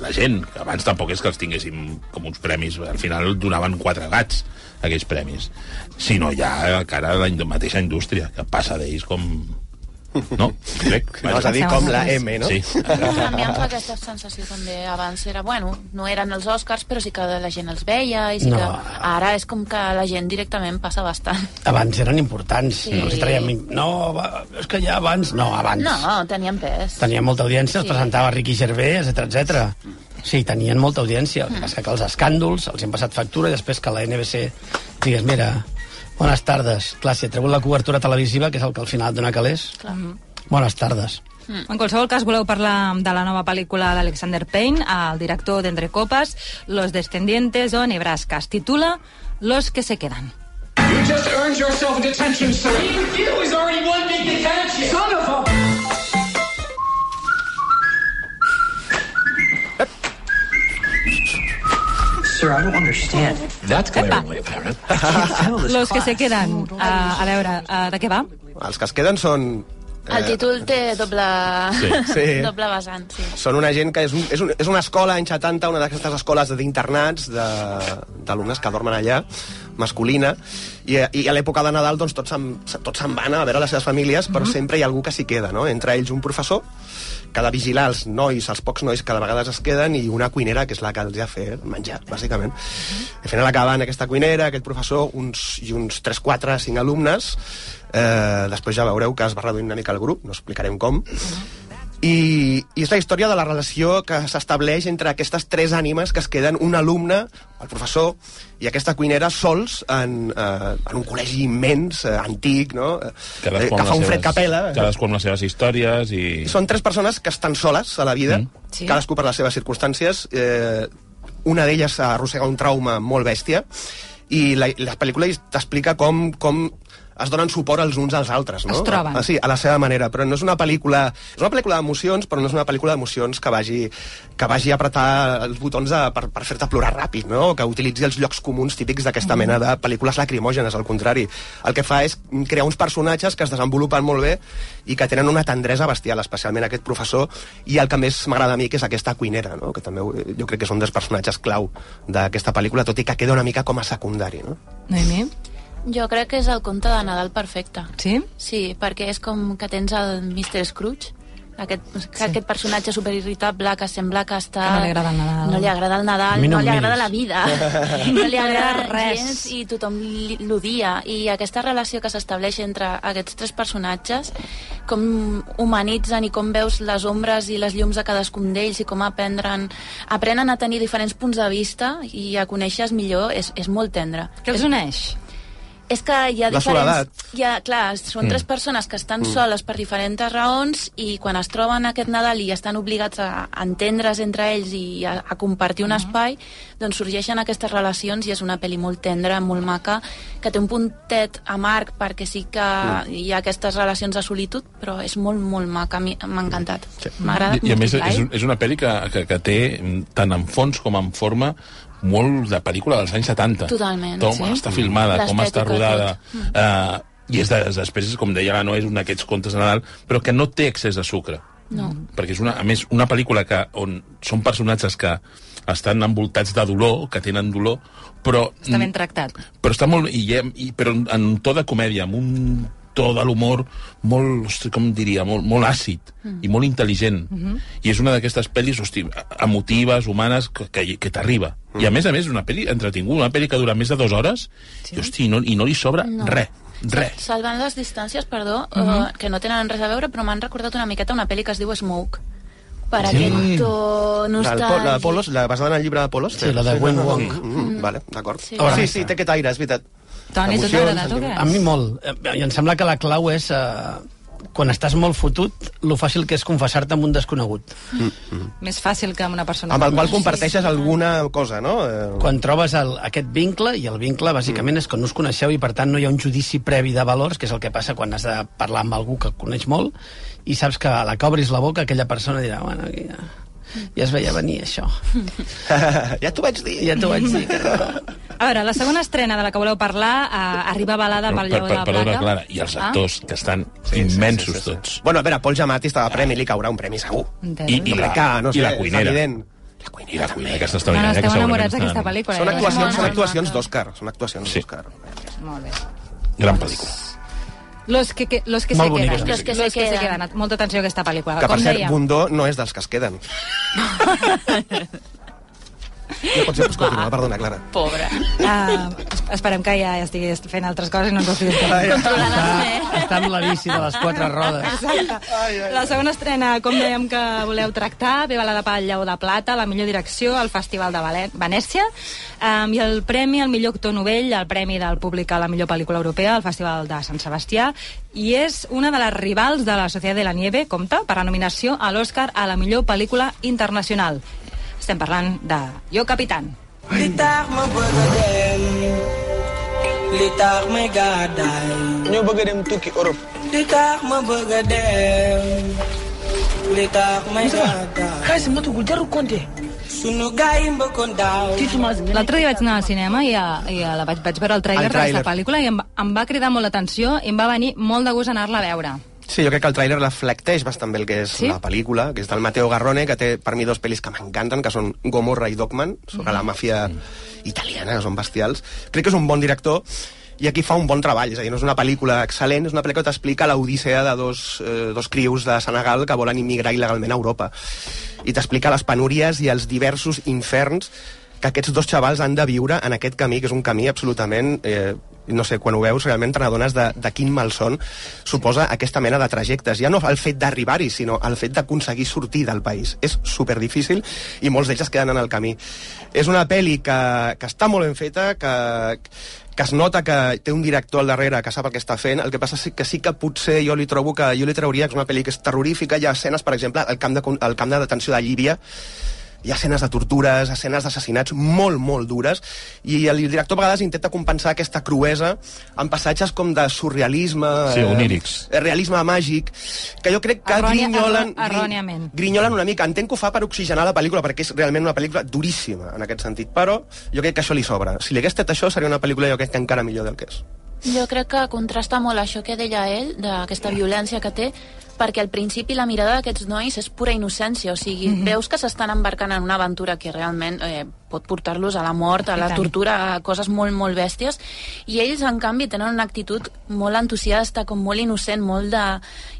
[SPEAKER 7] la gent, que abans tampoc és que els tinguéssim com uns premis, al final donaven quatre gats aquells premis, sinó ja que ara la ind- mateixa indústria, que passa d'ells com... No?
[SPEAKER 2] [laughs]
[SPEAKER 7] Crec.
[SPEAKER 2] No, és a dir, com la M, no? Eh,
[SPEAKER 7] Sí,
[SPEAKER 5] A mi em fa aquesta sensació també. Abans era, bueno, no eren els Oscars, però sí que la gent els veia, i sí
[SPEAKER 4] No.
[SPEAKER 5] que... Ara és com que la gent directament passa bastant.
[SPEAKER 4] Abans eren importants.
[SPEAKER 5] Sí.
[SPEAKER 4] No, els traiem... no va, és que ja abans... No, abans.
[SPEAKER 5] No, tenien pes.
[SPEAKER 4] Tenia molta audiència, es
[SPEAKER 5] Sí.
[SPEAKER 4] presentava Ricky Gervais, etc etc. Sí, tenien molta audiència. El que passa que els escàndols els han passat factura i després que la NBC digues, mira, bones tardes. Clar, si ha tregut la cobertura televisiva, que és el que al final dona calés,
[SPEAKER 5] Clar.
[SPEAKER 4] bones tardes.
[SPEAKER 1] En qualsevol cas, voleu parlar de la nova pel·lícula d'Alexander Payne, el director d'Entre Copas, Los Descendientes o Nebraska. Es titula Los que se quedan.
[SPEAKER 8] You just earned yourself a detention, sir. Being you is already one big detention. Son of a...
[SPEAKER 9] Sir, I don't understand.
[SPEAKER 10] That's glaringly apparent.
[SPEAKER 1] Los que se quedan. Uh, a veure, uh, de què va?
[SPEAKER 2] Els que es queden són...
[SPEAKER 5] El títol té doble...
[SPEAKER 2] Eh, Sí.
[SPEAKER 5] [laughs] doble vessant, sí.
[SPEAKER 2] Són una gent que és, un, és, un, és una escola anys 70, una d'aquestes escoles d'internats de- d'alumnes que dormen allà, masculina, i, a- i a l'època de Nadal doncs, tots se'n tots se'n van a veure les seves famílies, però sempre hi ha algú que s'hi queda, no? Entre ells un professor que ha de vigilar els nois, els pocs nois que de vegades es queden, i una cuinera, que és la que els ha fet menjar, bàsicament. Al final acaben aquesta cuinera, aquest professor, uns, i uns 3, 4, 5 alumnes, eh, després ja veureu que es va reduint una mica el grup, no explicarem com, i, I és la història de la relació que s'estableix entre aquestes tres ànimes que es queden un alumne, el professor, i aquesta cuinera sols en, eh, en un col·legi immens, eh, antic, no? Eh, eh,
[SPEAKER 7] Cadascú amb
[SPEAKER 2] que fa
[SPEAKER 7] les
[SPEAKER 2] un fred
[SPEAKER 7] seves-
[SPEAKER 2] capela.
[SPEAKER 7] Cadascú amb les seves històries i...
[SPEAKER 2] Són tres persones que estan soles a la vida, mm.
[SPEAKER 1] Sí.
[SPEAKER 2] sí. cadascú per les seves circumstàncies. Eh, una d'elles arrossega un trauma molt bèstia i la, la pel·lícula hi t'explica com, com es donen suport els uns als altres, no?
[SPEAKER 1] Es troben.
[SPEAKER 2] Ah, sí, a la seva manera, però no és una pel·lícula... És una pel·lícula d'emocions, però no és una pel·lícula d'emocions que vagi, que vagi a apretar els botons de, per, per fer-te plorar ràpid, no? O que utilitzi els llocs comuns típics d'aquesta mena de pel·lícules lacrimògenes, al contrari. El que fa és crear uns personatges que es desenvolupen molt bé i que tenen una tendresa bestial, especialment aquest professor, i el que més m'agrada a mi, que és aquesta cuinera, no? Que també eh, jo crec que és un dels personatges clau d'aquesta pel·lícula, tot i que queda una mica com a secundari, no?
[SPEAKER 1] Noemi?
[SPEAKER 5] Jo crec que és el conte de Nadal perfecte.
[SPEAKER 1] Sí?
[SPEAKER 5] Sí, perquè és com que tens el Mr. Scrooge, Aquest, sí. aquest personatge superirritable que sembla que està...
[SPEAKER 1] Que no li agrada el Nadal.
[SPEAKER 5] No li agrada
[SPEAKER 4] A
[SPEAKER 5] el Nadal,
[SPEAKER 4] mi no
[SPEAKER 5] no,
[SPEAKER 4] em
[SPEAKER 5] li agrada la
[SPEAKER 4] miris. [laughs]
[SPEAKER 5] vida. no li
[SPEAKER 1] No li
[SPEAKER 5] agrada
[SPEAKER 1] agrada res.
[SPEAKER 5] gens i tothom li- l'odia. I aquesta relació que s'estableix entre aquests tres personatges, com humanitzen i com veus les ombres i les llums de cadascun d'ells i com aprendren, aprenen a tenir diferents punts de vista i a conèixer millor, és, és molt tendre.
[SPEAKER 1] Què els uneix?
[SPEAKER 5] És que hi ha
[SPEAKER 2] La soledat.
[SPEAKER 5] diferents... Hi ha, clar, són tres persones que estan mm. soles per diferents raons i quan es troben aquest Nadal i estan obligats a entendre's entre ells i a, a compartir
[SPEAKER 7] Mm.
[SPEAKER 5] un espai, doncs sorgeixen aquestes relacions i és una pel·li molt tendra, molt maca, que té un puntet amarg perquè sí que
[SPEAKER 7] Mm.
[SPEAKER 5] hi ha aquestes relacions de solitud, però és molt, molt maca. A mi M'ha encantat. M'ha agradat
[SPEAKER 7] I, i a més,
[SPEAKER 5] multiplicar.
[SPEAKER 7] és, un, és una pel·li que, que, que té mm, tant en fons com en forma molt de pel·lícula dels anys 70.
[SPEAKER 5] Totalment,
[SPEAKER 7] Com
[SPEAKER 5] sí.
[SPEAKER 7] està filmada, com està
[SPEAKER 5] L'estètica,
[SPEAKER 7] rodada...
[SPEAKER 5] tot. Mm.
[SPEAKER 7] Eh, I és de, després, és, com deia la Noa, és un d'aquests contes de Nadal, però que no té excés de sucre.
[SPEAKER 5] No.
[SPEAKER 7] Perquè és, una, a més, una pel·lícula que, on són personatges que estan envoltats de dolor, que tenen dolor, però...
[SPEAKER 1] Està ben tractat.
[SPEAKER 7] però està molt... I, i, però en- en to de comèdia, amb un to de l'humor molt, hosti, com diria, molt, molt àcid mm. i molt intel·ligent. Mm -hmm. I és una d'aquestes pel·lis, hosti, emotives, humanes, que, que, que t'arriba. Mm. I a més a més, una pel·li entretinguda, una pel·li que dura més de dues hores, sí. i, hosti, no, i no li sobra no. res, res.
[SPEAKER 5] Salvant les distàncies, perdó, mm -hmm. uh, que no tenen res a veure, però m'han recordat una miqueta una pel·li que es diu Smoke. Per sí. aquest to
[SPEAKER 2] La,
[SPEAKER 5] nostàlgic.
[SPEAKER 2] la de Polos, la basada en el llibre de Polos?
[SPEAKER 4] Sí, la de Wen Wong.
[SPEAKER 2] Mm, mm, vale, d'acord. Sí.
[SPEAKER 5] Sí.
[SPEAKER 2] sí, sí, té aquest aire, és veritat.
[SPEAKER 1] Toni, tu t'ha
[SPEAKER 2] Emocions,
[SPEAKER 1] agradat o què?
[SPEAKER 4] A mi molt. Eh, I em sembla que la clau és... Eh, quan estàs molt fotut, lo fàcil que és confessar-te amb un desconegut.
[SPEAKER 1] Més fàcil que amb una persona...
[SPEAKER 2] Amb el qual
[SPEAKER 1] que coneixes.
[SPEAKER 2] comparteixes alguna cosa, no? Eh,
[SPEAKER 4] Quan trobes el, aquest vincle, i el vincle bàsicament és que no us coneixeu i per tant no hi ha un judici previ de valors, que és el que passa quan has de parlar amb algú que coneix molt i saps que a la que obris la boca aquella persona dirà, bueno, aquí ja, ja es veia venir això.
[SPEAKER 2] ja t'ho vaig dir.
[SPEAKER 4] Ja t'ho vaig dir. Que no.
[SPEAKER 1] A veure, la segona estrena de la que voleu parlar eh, arriba balada
[SPEAKER 7] Però,
[SPEAKER 1] pel Lleó de la Plata.
[SPEAKER 7] perdona, Clara, i els actors, ah? que estan sí, immensos sí, sí, sí, tots.
[SPEAKER 2] Bueno, a veure, Paul Giamatti estava a premi, li caurà un premi segur.
[SPEAKER 1] Entesos.
[SPEAKER 7] I, i, la,
[SPEAKER 2] Crec que, no sé,
[SPEAKER 7] I la
[SPEAKER 2] és
[SPEAKER 7] cuinera.
[SPEAKER 2] evident. La
[SPEAKER 7] I
[SPEAKER 2] cuinera,
[SPEAKER 7] la cuinera,
[SPEAKER 2] també.
[SPEAKER 7] aquesta
[SPEAKER 1] No, no,
[SPEAKER 7] extraordinària. que
[SPEAKER 1] esteu
[SPEAKER 7] segurament
[SPEAKER 1] enamorats
[SPEAKER 7] estan-
[SPEAKER 1] d'aquesta pel·lícula.
[SPEAKER 2] Són
[SPEAKER 1] eh?
[SPEAKER 2] actuacions, són
[SPEAKER 5] molt
[SPEAKER 2] actuacions
[SPEAKER 5] maca.
[SPEAKER 2] d'Òscar. Són actuacions
[SPEAKER 7] Sí.
[SPEAKER 2] d'Òscar.
[SPEAKER 7] eh?
[SPEAKER 1] Molt bé.
[SPEAKER 7] Gran pel·lícula.
[SPEAKER 1] Los que, que, los que
[SPEAKER 4] Molt
[SPEAKER 1] se
[SPEAKER 4] bonica,
[SPEAKER 1] quedan.
[SPEAKER 4] sí,
[SPEAKER 5] Los que se quedan.
[SPEAKER 1] Molta atenció a aquesta pel·lícula.
[SPEAKER 2] Que, per
[SPEAKER 1] Com
[SPEAKER 2] cert,
[SPEAKER 1] dèiem,
[SPEAKER 2] Bundó no és dels que es queden. Ja pots, pots continuar, perdona, Clara.
[SPEAKER 5] Pobre.
[SPEAKER 1] ah, es- esperem que ja estiguis fent altres coses i no ens ho estiguis fent.
[SPEAKER 4] Està, està amb la bici de les quatre rodes.
[SPEAKER 1] Exacte. La segona estrena, com dèiem que voleu tractar, ve balada pel Lleó de Plata, la millor direcció al Festival de Valen- Venècia, um, i el premi al millor actor novell, el premi del públic a la millor pel·lícula europea al Festival de Sant Sebastià, i és una de les rivals de la Societat de la Nieve, compta, per la nominació a l'Oscar a la millor pel·lícula internacional. Estem parlant de Yo Capitán.
[SPEAKER 8] ñoo bëgg a dem tukki Europe. li tax ma bëgg a dem li tax may xaalis matugu jarul compte sunu gaay mbëkkoon daaw
[SPEAKER 1] L'altre dia vaig anar al cinema i, a, i a la vaig, vaig veure el tràiler
[SPEAKER 2] El tràiler.
[SPEAKER 1] d'aquesta pel·lícula i em, em va cridar molt l'atenció i em va venir molt de gust anar-la a veure.
[SPEAKER 2] Sí, jo crec que el tràiler reflecteix bastant bé el que és
[SPEAKER 1] Sí?
[SPEAKER 2] la pel·lícula, que és del Mateo Garrone, que té per mi dos pel·lis que m'encanten, que són Gomorra i Dogman, sobre la màfia italiana, que són bestials. Crec que és un bon director i aquí fa un bon treball, és a dir, no és una pel·lícula excel·lent, és una pel·lícula que t'explica l'odissea de dos, eh, dos crius de Senegal que volen immigrar il·legalment a Europa. I t'explica les penúries i els diversos inferns que aquests dos xavals han de viure en aquest camí, que és un camí absolutament... Eh, no sé, quan ho veus realment te n'adones de, de quin malson suposa aquesta mena de trajectes. Ja no el fet d'arribar-hi, sinó el fet d'aconseguir sortir del país. És superdifícil i molts d'ells es queden en el camí. És una pel·li que, que està molt ben feta, que, que es nota que té un director al darrere que sap el que està fent, el que passa és que sí que potser jo li trobo que jo li trauria que és una pel·li que és terrorífica, hi ha escenes, per exemple, al camp de, con- al camp de detenció de Llívia, hi ha escenes de tortures, escenes d'assassinats molt, molt dures, i el director a vegades intenta compensar aquesta cruesa amb passatges com de surrealisme...
[SPEAKER 7] Sí,
[SPEAKER 2] eh,
[SPEAKER 7] onírics.
[SPEAKER 2] eh, realisme màgic, que jo crec que
[SPEAKER 1] Errònia-
[SPEAKER 2] grinyolen...
[SPEAKER 1] errò- erròniament.
[SPEAKER 2] Grinyolen una mica. Entenc que ho fa per oxigenar la pel·lícula, perquè és realment una pel·lícula duríssima en aquest sentit, però jo crec que això li sobra. Si li hagués tret això, seria una pel·lícula jo crec que encara millor del que és. Mm.
[SPEAKER 5] Jo crec que contrasta molt això que deia ell, d'aquesta violència que té, perquè al principi la mirada d'aquests nois és pura innocència, o sigui,
[SPEAKER 2] Mm-hmm.
[SPEAKER 5] mm -hmm. veus que s'estan embarcant en una aventura que realment eh, pot portar-los a la mort, a
[SPEAKER 1] I
[SPEAKER 5] la
[SPEAKER 1] tant.
[SPEAKER 5] tortura, a coses molt, molt bèsties, i ells, en canvi, tenen una actitud molt entusiasta, com molt innocent, molt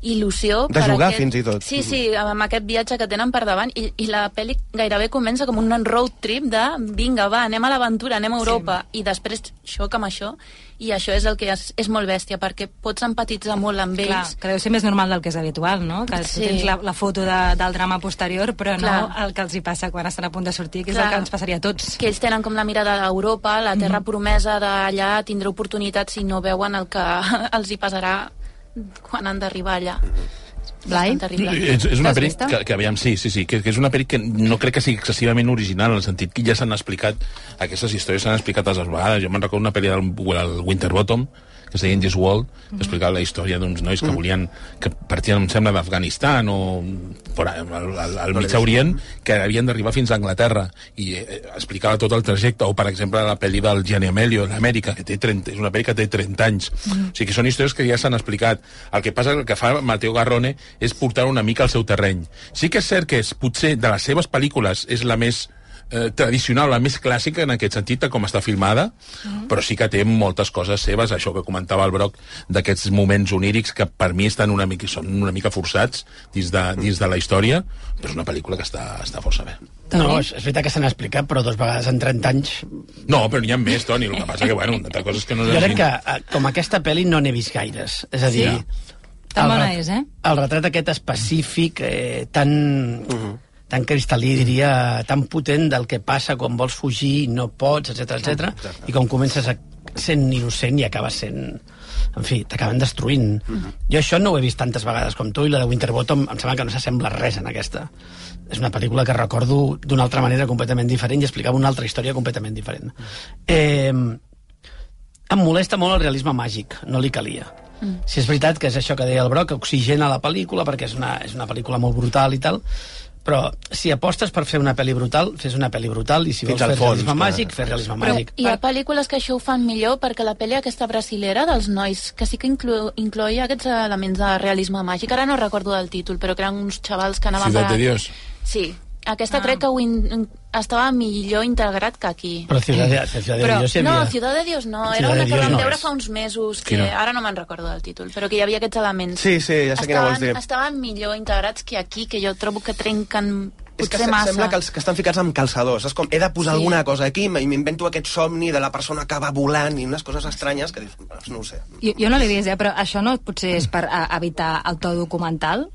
[SPEAKER 5] d'il·lusió.
[SPEAKER 2] De
[SPEAKER 5] per
[SPEAKER 2] jugar, fins i tot.
[SPEAKER 5] Sí, sí, amb aquest viatge que tenen per davant, i, i la pel·li gairebé comença com un road trip de vinga, va, anem a l'aventura, anem a Europa, sí. i després xoca amb això, i això és el que és, és molt bèstia, perquè pots empatitzar molt amb ells,
[SPEAKER 1] Clar, que deu ser més normal del que és habitual, no? Que sí.
[SPEAKER 5] Sí.
[SPEAKER 1] tens la, la foto de, del drama posterior, però
[SPEAKER 5] Clar.
[SPEAKER 1] no el que els hi passa quan estan a punt de sortir, que és
[SPEAKER 5] Clar.
[SPEAKER 1] el que ens passaria a tots.
[SPEAKER 5] que ells tenen com la mirada d'Europa, la terra promesa d'allà, tindrà oportunitats si no veuen el que [laughs] els hi passarà quan han d'arribar allà.
[SPEAKER 10] Blai?
[SPEAKER 5] És terrible.
[SPEAKER 7] És, és una
[SPEAKER 10] L'has
[SPEAKER 7] pel·li
[SPEAKER 10] vista?
[SPEAKER 7] que, que, aviam, sí, sí, sí, que, que és una pel·li que no crec que sigui excessivament original, en el sentit que ja s'han explicat, aquestes històries s'han explicat altres vegades. Jo me'n recordo una pel·li del, del Winterbottom, que es deia This World, que explicava la història d'uns nois que volien, que partien, em sembla, d'Afganistan o por, ahí, al, al, al mig Orient, que havien d'arribar fins a Anglaterra i eh, explicava tot el trajecte, o per exemple la pel·li del Gianni Amelio, l'Amèrica, que té 30, és una pel·li que té 30 anys. Mm. O sigui que són històries que ja s'han explicat. El que passa que el que fa Mateo Garrone és portar una mica al seu terreny. Sí que és cert que és, potser de les seves pel·lícules és la més eh, tradicional, la més clàssica en aquest sentit de com està filmada, mm. però sí que té moltes coses seves, això que comentava el Broc d'aquests moments onírics que per mi estan una mica, són una mica forçats dins de, dins de la història, però és una pel·lícula que està, està força bé.
[SPEAKER 4] No, és, és veritat que s'han explicat, però dos vegades en 30 anys...
[SPEAKER 7] No, però n'hi ha més, Toni, el que passa que, bueno, una altra cosa és que no...
[SPEAKER 4] Jo crec que, eh, com aquesta pel·li, no n'he vist gaires. És a dir... Sí?
[SPEAKER 1] Tan bona és, eh?
[SPEAKER 4] El retrat aquest específic, eh, tan... tan cristal·lí, diria, tan potent del que passa quan vols fugir, no pots, etc
[SPEAKER 1] Ah,
[SPEAKER 4] etc. i com comences a, sent innocent i acabes sent... En fi, t'acaben destruint. Jo això no ho he vist tantes vegades com tu, i la de Winterbottom em sembla que no s'assembla res en aquesta. És una pel·lícula que recordo d'una altra manera completament diferent i explicava una altra història completament diferent. Eh, em molesta molt el realisme màgic, no li calia. Mm. Si és veritat que és això que deia el Broc, que oxigena la pel·lícula, perquè és una, és una pel·lícula molt brutal i tal, però si apostes per fer una pel·li brutal, fes una pel·li brutal, i si
[SPEAKER 2] Fins
[SPEAKER 4] vols fer
[SPEAKER 2] al fons,
[SPEAKER 4] realisme
[SPEAKER 2] clar.
[SPEAKER 4] màgic, fes realisme
[SPEAKER 5] Però
[SPEAKER 4] màgic.
[SPEAKER 5] hi ha pel·lícules que això ho fan millor perquè la pel·li aquesta brasilera dels nois, que sí que inclo, incloïa aquests elements de realisme màgic, ara no recordo del títol, però que eren uns xavals que anaven...
[SPEAKER 7] Ciudad
[SPEAKER 5] per-
[SPEAKER 7] de Dios.
[SPEAKER 5] Sí, aquesta crec que ho in, estava millor integrat que aquí.
[SPEAKER 4] Però Ciudad de, de Ciudad de
[SPEAKER 1] Però-
[SPEAKER 4] Dios hi havia...
[SPEAKER 5] Eh, No, Ciudad de Dios no,
[SPEAKER 4] Ciudad
[SPEAKER 5] era una
[SPEAKER 4] de
[SPEAKER 5] que
[SPEAKER 4] Dios
[SPEAKER 5] vam
[SPEAKER 4] no
[SPEAKER 5] veure
[SPEAKER 4] és.
[SPEAKER 5] fa uns mesos, que
[SPEAKER 7] Quina?
[SPEAKER 5] ara no me'n recordo del títol, però que hi havia aquests elements.
[SPEAKER 2] Sí, sí, ja sé quina vols
[SPEAKER 5] estaven,
[SPEAKER 2] dir.
[SPEAKER 5] Estaven millor integrats que aquí, que jo trobo que trenquen
[SPEAKER 2] És que
[SPEAKER 5] potser
[SPEAKER 2] se-
[SPEAKER 5] massa.
[SPEAKER 2] sembla que els que estan ficats amb calçadors. És com, he de posar
[SPEAKER 5] Sí.
[SPEAKER 2] sí. alguna cosa aquí i m'invento aquest somni de la persona que va volant i unes coses estranyes que dius, "Doncs no ho sé.
[SPEAKER 1] Jo, jo no l'he vist, eh? Però això no potser és per a, evitar el to documental?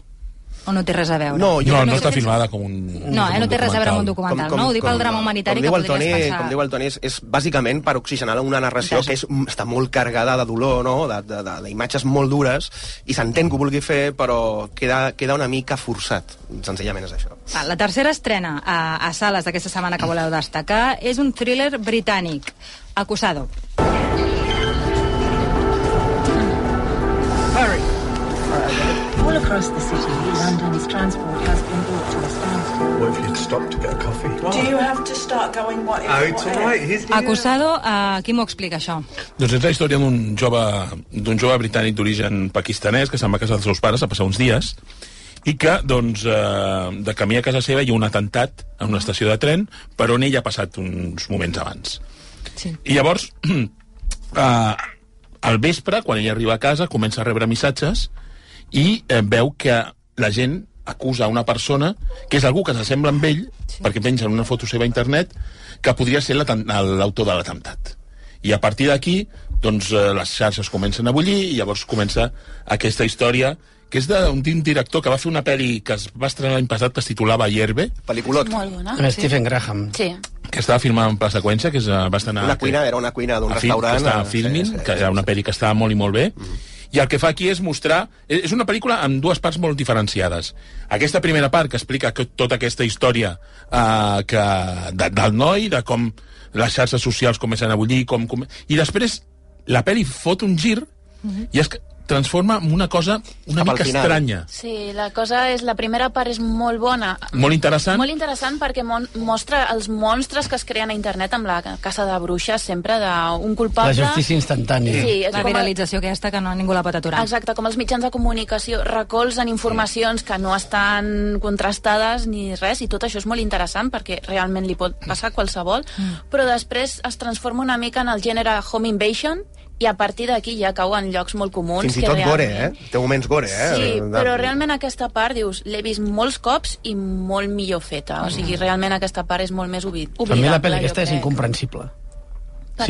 [SPEAKER 1] O no té res a veure?
[SPEAKER 2] No, jo
[SPEAKER 7] No,
[SPEAKER 2] crec
[SPEAKER 7] no
[SPEAKER 2] que
[SPEAKER 7] està
[SPEAKER 2] és-
[SPEAKER 7] filmada com un...
[SPEAKER 1] No, eh? No té res a veure amb un
[SPEAKER 7] documental.
[SPEAKER 1] documental, no? Ho dic pel drama humanitari
[SPEAKER 2] com diu
[SPEAKER 1] que
[SPEAKER 2] el
[SPEAKER 1] podries
[SPEAKER 2] Toni,
[SPEAKER 1] pensar...
[SPEAKER 2] Com diu el Toni, és, és bàsicament per oxigenar una narració
[SPEAKER 1] Vaja.
[SPEAKER 2] que és, està molt carregada de dolor, no? de- de- de- d'imatges molt dures, i s'entén que ho vulgui fer, però queda, queda una mica forçat. Senzillament és això.
[SPEAKER 1] Va, La tercera estrena a, a sales d'aquesta setmana que voleu destacar és un thriller britànic, Acusado.
[SPEAKER 9] All across the city, London's transport has been brought to a standstill.
[SPEAKER 11] What if you'd stopped to get a coffee?
[SPEAKER 8] Do you have to start going what if,
[SPEAKER 11] Oh, it's
[SPEAKER 8] what
[SPEAKER 11] all right.
[SPEAKER 8] if?
[SPEAKER 11] Here's the
[SPEAKER 1] Acusado, eh, qui m'ho explica, això?
[SPEAKER 7] Doncs és la història d'un jove, d'un jove britànic d'origen pakistanès que se'n va a casa dels seus pares a passar uns dies i que, doncs, eh, de camí a casa seva hi ha un atemptat en una estació de tren per on ell ha passat uns moments abans.
[SPEAKER 1] Sí.
[SPEAKER 7] I llavors, [clears throat] eh, al vespre, quan ell arriba a casa, comença a rebre missatges i eh, veu que la gent acusa una persona que és algú que s'assembla amb ell, sí. perquè penja en una foto seva a internet, que podria ser l'atem- l'autor de l'atemptat. I a partir d'aquí, doncs, eh, les xarxes comencen a bullir i llavors comença aquesta història que és d'un d'un director que va fer una pel·li que es va estrenar l'any passat que es titulava Hierbe,
[SPEAKER 2] Peliculot.
[SPEAKER 5] Molt bona.
[SPEAKER 4] Amb Stephen Graham.
[SPEAKER 5] Sí.
[SPEAKER 7] que estava filmada en pla seqüència, que es, eh, va estrenar...
[SPEAKER 2] Una
[SPEAKER 7] que-
[SPEAKER 2] cuina, era una cuina d'un
[SPEAKER 7] a Film, Ah, que
[SPEAKER 2] restaurant.
[SPEAKER 7] està a
[SPEAKER 2] eh,
[SPEAKER 7] Filmin,
[SPEAKER 2] sí, Mm. sí,
[SPEAKER 7] que era una pel·li que estava molt i molt bé, i el que fa aquí és mostrar... eh, És una pel·lícula amb dues parts molt diferenciades. Aquesta primera part, que explica que, tota aquesta història eh, que, de, del noi, de com les xarxes socials comencen a bullir, com, com... i després la pel·li fot un gir, i és que transforma en una cosa
[SPEAKER 2] Cap
[SPEAKER 7] una
[SPEAKER 2] al
[SPEAKER 7] mica
[SPEAKER 2] final.
[SPEAKER 7] estranya.
[SPEAKER 5] Sí, la cosa és... La primera part és molt bona.
[SPEAKER 7] Molt interessant.
[SPEAKER 5] Molt interessant perquè mon, mostra els monstres que es creen a internet amb la caça de bruixes, sempre d'un culpable...
[SPEAKER 4] La justícia instantània.
[SPEAKER 5] Sí, és
[SPEAKER 1] La
[SPEAKER 5] com el,
[SPEAKER 1] viralització aquesta que no ningú la pot aturar.
[SPEAKER 5] exacte, com els mitjans de comunicació recolzen informacions que no estan contrastades ni res, i tot això és molt interessant perquè realment li pot passar a qualsevol, però després es transforma una mica en el gènere home invasion, i a partir d'aquí ja cauen llocs molt comuns.
[SPEAKER 2] Fins i
[SPEAKER 5] que
[SPEAKER 2] tot gore,
[SPEAKER 5] realment-
[SPEAKER 2] eh? Té moments gore, eh?
[SPEAKER 5] Sí,
[SPEAKER 2] De-
[SPEAKER 5] però realment aquesta part, dius, l'he vist molts cops i molt millor feta. O sigui, realment aquesta part és molt més obli- oblidable.
[SPEAKER 4] Per mi la pel·li
[SPEAKER 5] jo
[SPEAKER 4] aquesta és
[SPEAKER 5] crec.
[SPEAKER 4] incomprensible.
[SPEAKER 5] Per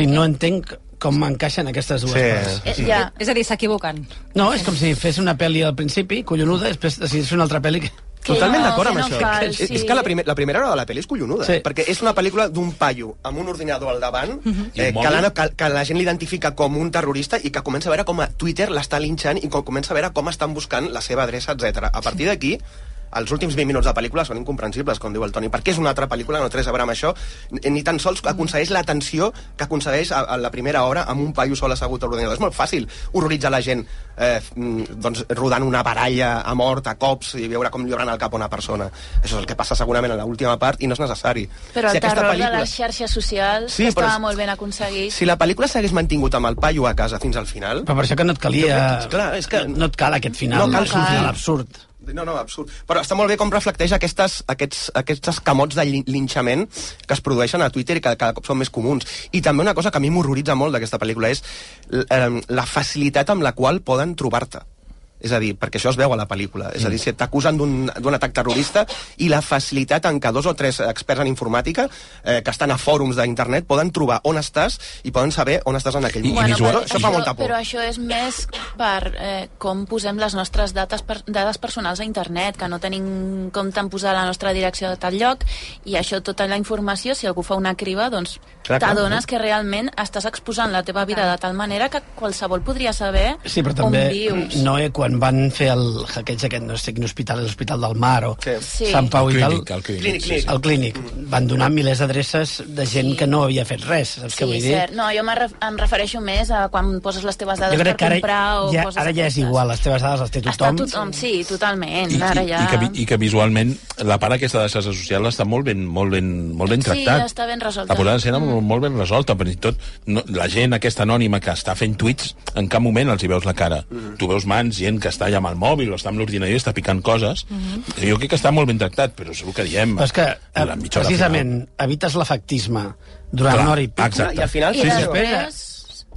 [SPEAKER 4] O sigui,
[SPEAKER 5] què?
[SPEAKER 4] no entenc com encaixen aquestes dues
[SPEAKER 2] Sí.
[SPEAKER 4] parts.
[SPEAKER 5] Eh, ja,
[SPEAKER 1] És a dir, s'equivoquen.
[SPEAKER 4] No, és com si fes una pel·li al principi, collonuda, després decidís fer una altra pel·li... que-
[SPEAKER 5] que
[SPEAKER 2] Totalment
[SPEAKER 5] no,
[SPEAKER 2] d'acord amb
[SPEAKER 5] que
[SPEAKER 2] això.
[SPEAKER 5] No cal,
[SPEAKER 2] És, és que la, primer, la primera hora de la pel·li és collonuda, eh?
[SPEAKER 4] Sí.
[SPEAKER 2] perquè és una pel·lícula d'un paio amb un ordinador al davant,
[SPEAKER 5] Mhm.
[SPEAKER 2] eh,
[SPEAKER 7] I un
[SPEAKER 2] que, l'han-
[SPEAKER 7] mòbil.
[SPEAKER 2] que, que la gent l'identifica com un terrorista i que comença a veure com a Twitter l'està linxant i com comença a veure com estan buscant la seva adreça, etc. A partir d'aquí, els últims 20 minuts de pel·lícula són incomprensibles, com diu el Toni, perquè és una altra pel·lícula, no té res a veure amb això, ni- ni tan sols aconsegueix l'atenció que aconsegueix a, a la primera hora amb un paio sol assegut a l'ordinador. És molt fàcil horroritzar la gent eh, f- mm, doncs, rodant una baralla a mort, a cops, i veure com lliuren el cap a una persona. Això és el que passa segurament a l'última part i no és necessari.
[SPEAKER 5] Però el
[SPEAKER 2] aquesta
[SPEAKER 5] terror de
[SPEAKER 2] pel·lícula-
[SPEAKER 5] les xarxes socials
[SPEAKER 2] Sí,
[SPEAKER 5] sí, estava
[SPEAKER 2] però-
[SPEAKER 5] molt ben aconseguit.
[SPEAKER 2] Si la pel·lícula s'hagués mantingut amb el paio a casa fins al final...
[SPEAKER 4] Però per això que no et calia...
[SPEAKER 2] Jo crec que- clar, és que-
[SPEAKER 4] No et cal aquest final.
[SPEAKER 2] No cal
[SPEAKER 4] un
[SPEAKER 2] sortir.
[SPEAKER 4] final absurd.
[SPEAKER 2] No, no, absurd. Però està molt bé com reflecteix aquestes, aquests, aquests escamots de lin- linxament que es produeixen a Twitter i que cada cop són més comuns. I també una cosa que a mi m'horroritza molt d'aquesta pel·lícula és l- em, la facilitat amb la qual poden trobar-te. És a dir, perquè això es veu a la pel·lícula. És a dir, si t'acusen d'un d'un atac terrorista i la facilitat en què dos o tres experts en informàtica eh, que estan a fòrums d'internet poden trobar on estàs i poden saber on estàs en aquell moment.
[SPEAKER 5] però,
[SPEAKER 2] això fa molta por.
[SPEAKER 5] però això és més per eh, com posem les nostres dates per, dades personals a internet, que no tenim compte en posar la nostra direcció de tal lloc, i això, tota la informació, si algú fa una criba, doncs
[SPEAKER 2] Clar, clar,
[SPEAKER 5] t'adones
[SPEAKER 2] eh?
[SPEAKER 5] que realment estàs exposant la teva vida de tal manera que qualsevol podria saber
[SPEAKER 4] Sí, però també,
[SPEAKER 5] on vius.
[SPEAKER 4] Noé, quan van fer el hackeig aquest, no sé quin hospital, l'Hospital del Mar o
[SPEAKER 2] Sí.
[SPEAKER 5] Sí.
[SPEAKER 4] Sant Pau i tal,
[SPEAKER 7] Clínic, el clínic.
[SPEAKER 2] Clínic,
[SPEAKER 7] sí,
[SPEAKER 2] clínic.
[SPEAKER 4] al clínic, van donar milers d'adreces de gent
[SPEAKER 5] Sí.
[SPEAKER 4] que no havia fet res, saps
[SPEAKER 5] Sí,
[SPEAKER 4] què vull dir?
[SPEAKER 5] cert. No, jo me ref- em refereixo més a quan poses les teves dades
[SPEAKER 4] Jo crec
[SPEAKER 5] per
[SPEAKER 4] que ara,
[SPEAKER 5] comprar o
[SPEAKER 4] ja,
[SPEAKER 5] coses
[SPEAKER 4] ara ja és
[SPEAKER 5] aquestes.
[SPEAKER 4] igual, les teves dades les té
[SPEAKER 5] Està
[SPEAKER 4] tothom.
[SPEAKER 5] tothom, sí, totalment.
[SPEAKER 7] I,
[SPEAKER 5] ara
[SPEAKER 7] i,
[SPEAKER 5] ja...
[SPEAKER 7] i, que, vi- I que visualment la part aquesta de xarxes socials està molt ben, molt ben, molt ben
[SPEAKER 5] Sí,
[SPEAKER 7] tractat.
[SPEAKER 5] està ben resolta. Mm.
[SPEAKER 7] La posada en escena molt, molt ben resolta, però fins i tot no, la gent aquesta anònima que està fent tuits, en cap moment els hi veus la cara.
[SPEAKER 4] Mm.
[SPEAKER 7] Tu veus mans, gent que està allà amb el mòbil o està amb l'ordinador i està picant coses.
[SPEAKER 5] Mm-hmm.
[SPEAKER 7] Jo crec que està molt ben tractat, però és el que diem.
[SPEAKER 4] Però és que, eh,
[SPEAKER 7] durant mitja hora
[SPEAKER 4] precisament, evites l'afectisme durant
[SPEAKER 7] Clar,
[SPEAKER 4] una hora i pic.
[SPEAKER 7] exacte.
[SPEAKER 2] I al final...
[SPEAKER 5] I
[SPEAKER 4] Sí, sí.
[SPEAKER 5] després...